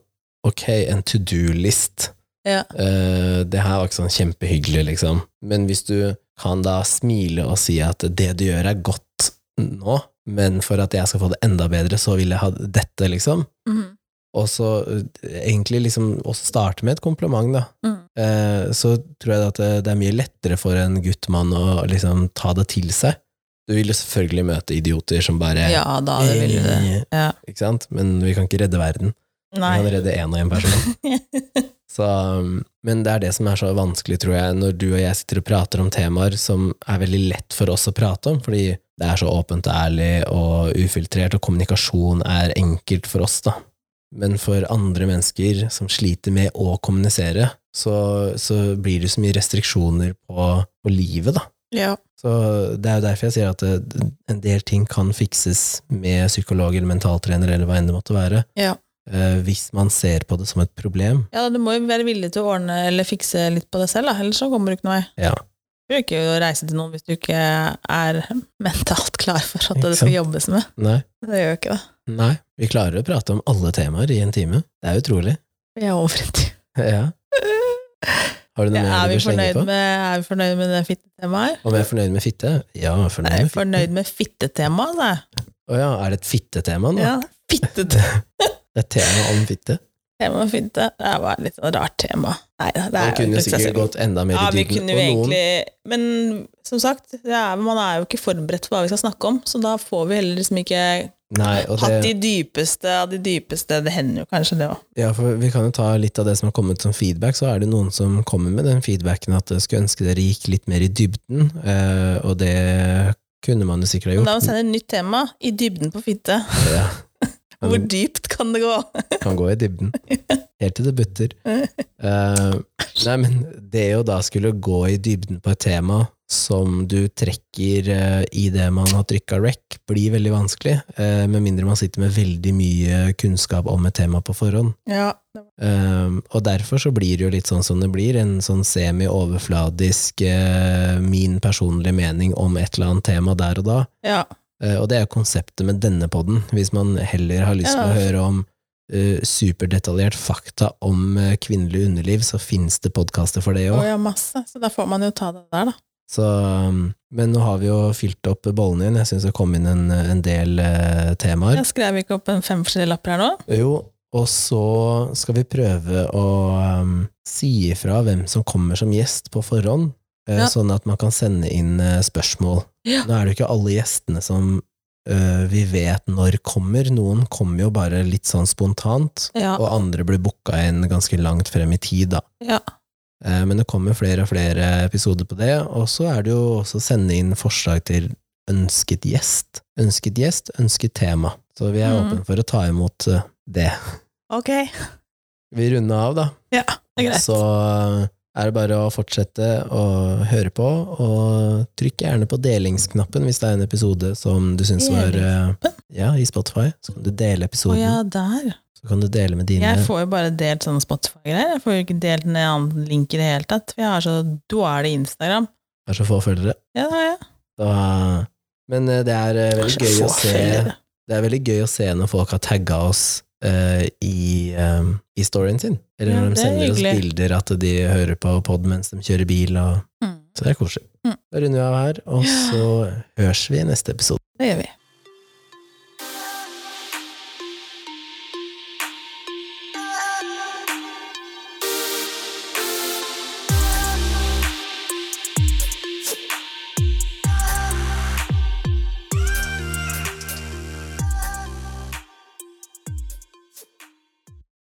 [SPEAKER 1] ok, en to do-list.
[SPEAKER 2] Ja.
[SPEAKER 1] Eh, det her var ikke sånn kjempehyggelig, liksom. Men hvis du kan da smile og si at det du gjør er godt nå, men for at jeg skal få det enda bedre, så vil jeg ha dette, liksom.
[SPEAKER 2] Mhm.
[SPEAKER 1] Og så eh, egentlig liksom å starte med et kompliment, da.
[SPEAKER 2] Mhm.
[SPEAKER 1] Eh, så tror jeg at eh, det, det er mye lettere for en guttmann å liksom ta det til seg. Du vil jo selvfølgelig møte idioter som bare
[SPEAKER 2] ja da, det vil du. det.
[SPEAKER 1] eh,
[SPEAKER 2] Ja.
[SPEAKER 1] Ikke sant? Men vi kan ikke redde verden. Vi kan
[SPEAKER 2] Nei.
[SPEAKER 1] redde én og én person. Så, um, men det er det som er så vanskelig, tror jeg, når du og jeg sitter og prater om temaer som er veldig lett for oss å prate om, fordi det er så åpent og ærlig og ufiltrert, og kommunikasjon er enkelt for oss, da. Men for andre mennesker som sliter med å kommunisere, så, så blir det så mye restriksjoner på, på livet, da.
[SPEAKER 2] Ja.
[SPEAKER 1] Så det er jo derfor jeg sier at det, en del ting kan fikses med psykolog eller mentaltrener eller hva enn det måtte være,
[SPEAKER 2] Ja.
[SPEAKER 1] eh, hvis man ser på det som et problem.
[SPEAKER 2] ja, du må jo være villig til å ordne eller fikse litt på deg selv, da. ellers så kommer du ikke noen vei.
[SPEAKER 1] Ja.
[SPEAKER 2] Du bruker jo å reise til noen hvis du ikke er mentalt klar for at
[SPEAKER 1] Ikke
[SPEAKER 2] det
[SPEAKER 1] sant?
[SPEAKER 2] skal jobbes med.
[SPEAKER 1] Nei.
[SPEAKER 2] Det gjør jo ikke det.
[SPEAKER 1] Nei, vi klarer å prate om alle temaer i en time. Det er utrolig.
[SPEAKER 2] Vi er over en time.
[SPEAKER 1] Ja. Har du noe
[SPEAKER 2] Ja,
[SPEAKER 1] mer
[SPEAKER 2] er,
[SPEAKER 1] du
[SPEAKER 2] vi
[SPEAKER 1] vil slenge
[SPEAKER 2] fornøyd
[SPEAKER 1] på?
[SPEAKER 2] med, er vi fornøyd med det fittetemaet?
[SPEAKER 1] Om jeg er fornøyd med fitte? Ja, jeg er fornøyd
[SPEAKER 2] Er vi
[SPEAKER 1] med fitte.
[SPEAKER 2] fornøyd med fittetemaet, da?
[SPEAKER 1] Å ja, er det et fittetema nå?
[SPEAKER 2] Ja, fittetema
[SPEAKER 1] Det er et tema om fitte?
[SPEAKER 2] og fitte. Det er bare litt sånn rart tema. Nei, det er
[SPEAKER 1] Man
[SPEAKER 2] jo
[SPEAKER 1] kunne
[SPEAKER 2] ikke så
[SPEAKER 1] sikkert
[SPEAKER 2] veldig-
[SPEAKER 1] gått enda mer
[SPEAKER 2] ja,
[SPEAKER 1] i
[SPEAKER 2] vi
[SPEAKER 1] dybden.
[SPEAKER 2] kunne jo
[SPEAKER 1] og noen-
[SPEAKER 2] egentlig Men som sagt, det er, man er jo ikke forberedt på hva vi skal snakke om, så da får vi heller liksom ikke
[SPEAKER 1] Nei, og
[SPEAKER 2] hatt
[SPEAKER 1] det,
[SPEAKER 2] de dypeste av de dypeste. Det hender jo kanskje, det òg.
[SPEAKER 1] ja, for vi kan jo ta litt av det som har kommet som feedback, så er det noen som kommer med den feedbacken at jeg skulle ønske dere gikk litt mer i dybden, eh, og det kunne man jo sikkert ha
[SPEAKER 2] Men da må vi
[SPEAKER 1] gjort.
[SPEAKER 2] sende et nytt tema. I dybden på fitte.
[SPEAKER 1] Ja.
[SPEAKER 2] Hvor
[SPEAKER 1] Men
[SPEAKER 2] dypt kan det gå?
[SPEAKER 1] det kan gå i dybden. Helt til det butter. Eh, nei, men det å da skulle gå i dybden på et tema som du trekker eh, i det man har trykka rec, blir veldig vanskelig, eh, med mindre man sitter med veldig mye kunnskap om et tema på forhånd.
[SPEAKER 2] Ja.
[SPEAKER 1] Eh, og derfor så blir det jo litt sånn som det blir, en sånn semi-overfladisk eh, min personlige mening om et eller annet tema der og da.
[SPEAKER 2] ja.
[SPEAKER 1] Eh, Og det er jo konseptet med denne podden. Hvis man heller har lyst til å
[SPEAKER 2] Ja.
[SPEAKER 1] høre om eh, superdetaljert fakta om eh, kvinnelig underliv, så fins det podkaster for det
[SPEAKER 2] Å
[SPEAKER 1] òg.
[SPEAKER 2] ja, masse. Så da får man jo ta det der, da.
[SPEAKER 1] ehm, Men nå har vi jo fylt opp bollen din. Jeg syns det kom inn en, en del eh, temaer.
[SPEAKER 2] Jeg skrev ikke opp en fem forskjellige lapper her nå.
[SPEAKER 1] Jo, Og så skal vi prøve å ehm, si ifra hvem som kommer som gjest på forhånd, eh,
[SPEAKER 2] Ja.
[SPEAKER 1] sånn at man kan sende inn eh, spørsmål.
[SPEAKER 2] Ja.
[SPEAKER 1] Nå er det jo ikke alle gjestene som eh, vi vet når kommer. Noen kommer jo bare litt sånn spontant,
[SPEAKER 2] Ja.
[SPEAKER 1] og andre blir booka inn ganske langt frem i tid, da.
[SPEAKER 2] Ja.
[SPEAKER 1] Eh, Men det kommer flere og flere episoder på det, og så er det jo også å sende inn forslag til ønsket gjest. Ønsket gjest, ønsket tema. Så vi er
[SPEAKER 2] Mhm.
[SPEAKER 1] åpne for å ta imot eh, det.
[SPEAKER 2] Ok, det
[SPEAKER 1] Vi runder av, da.
[SPEAKER 2] er greit.
[SPEAKER 1] Så eh, er det bare å fortsette å høre på, og trykk gjerne på delingsknappen hvis det er en episode som du syns var eh, Ja, i Spotify. Så kan du dele
[SPEAKER 2] Å
[SPEAKER 1] episoden.
[SPEAKER 2] ja, der.
[SPEAKER 1] Så kan du dele med dine.
[SPEAKER 2] Jeg får jo bare delt sånne Spotify-greier. Jeg får jo ikke delt en annen link i det hele tatt. For jeg har så dårlig Instagram.
[SPEAKER 1] Det er så få følgere.
[SPEAKER 2] Ja, det har jeg.
[SPEAKER 1] Da- Men eh, det er eh, veldig gøy å se
[SPEAKER 2] Følgere.
[SPEAKER 1] Det er veldig gøy å se når folk har tagga oss eh, i, eh, i storyen sin. Eller
[SPEAKER 2] Ja,
[SPEAKER 1] når
[SPEAKER 2] det
[SPEAKER 1] de
[SPEAKER 2] er
[SPEAKER 1] sender oss
[SPEAKER 2] hyggelig. og
[SPEAKER 1] bilder at de hører på pod mens de kjører bil. Og,
[SPEAKER 2] Mm.
[SPEAKER 1] så det er koselig.
[SPEAKER 2] Mm.
[SPEAKER 1] Da runder vi av her, og så høres vi i neste episode.
[SPEAKER 2] Det gjør vi.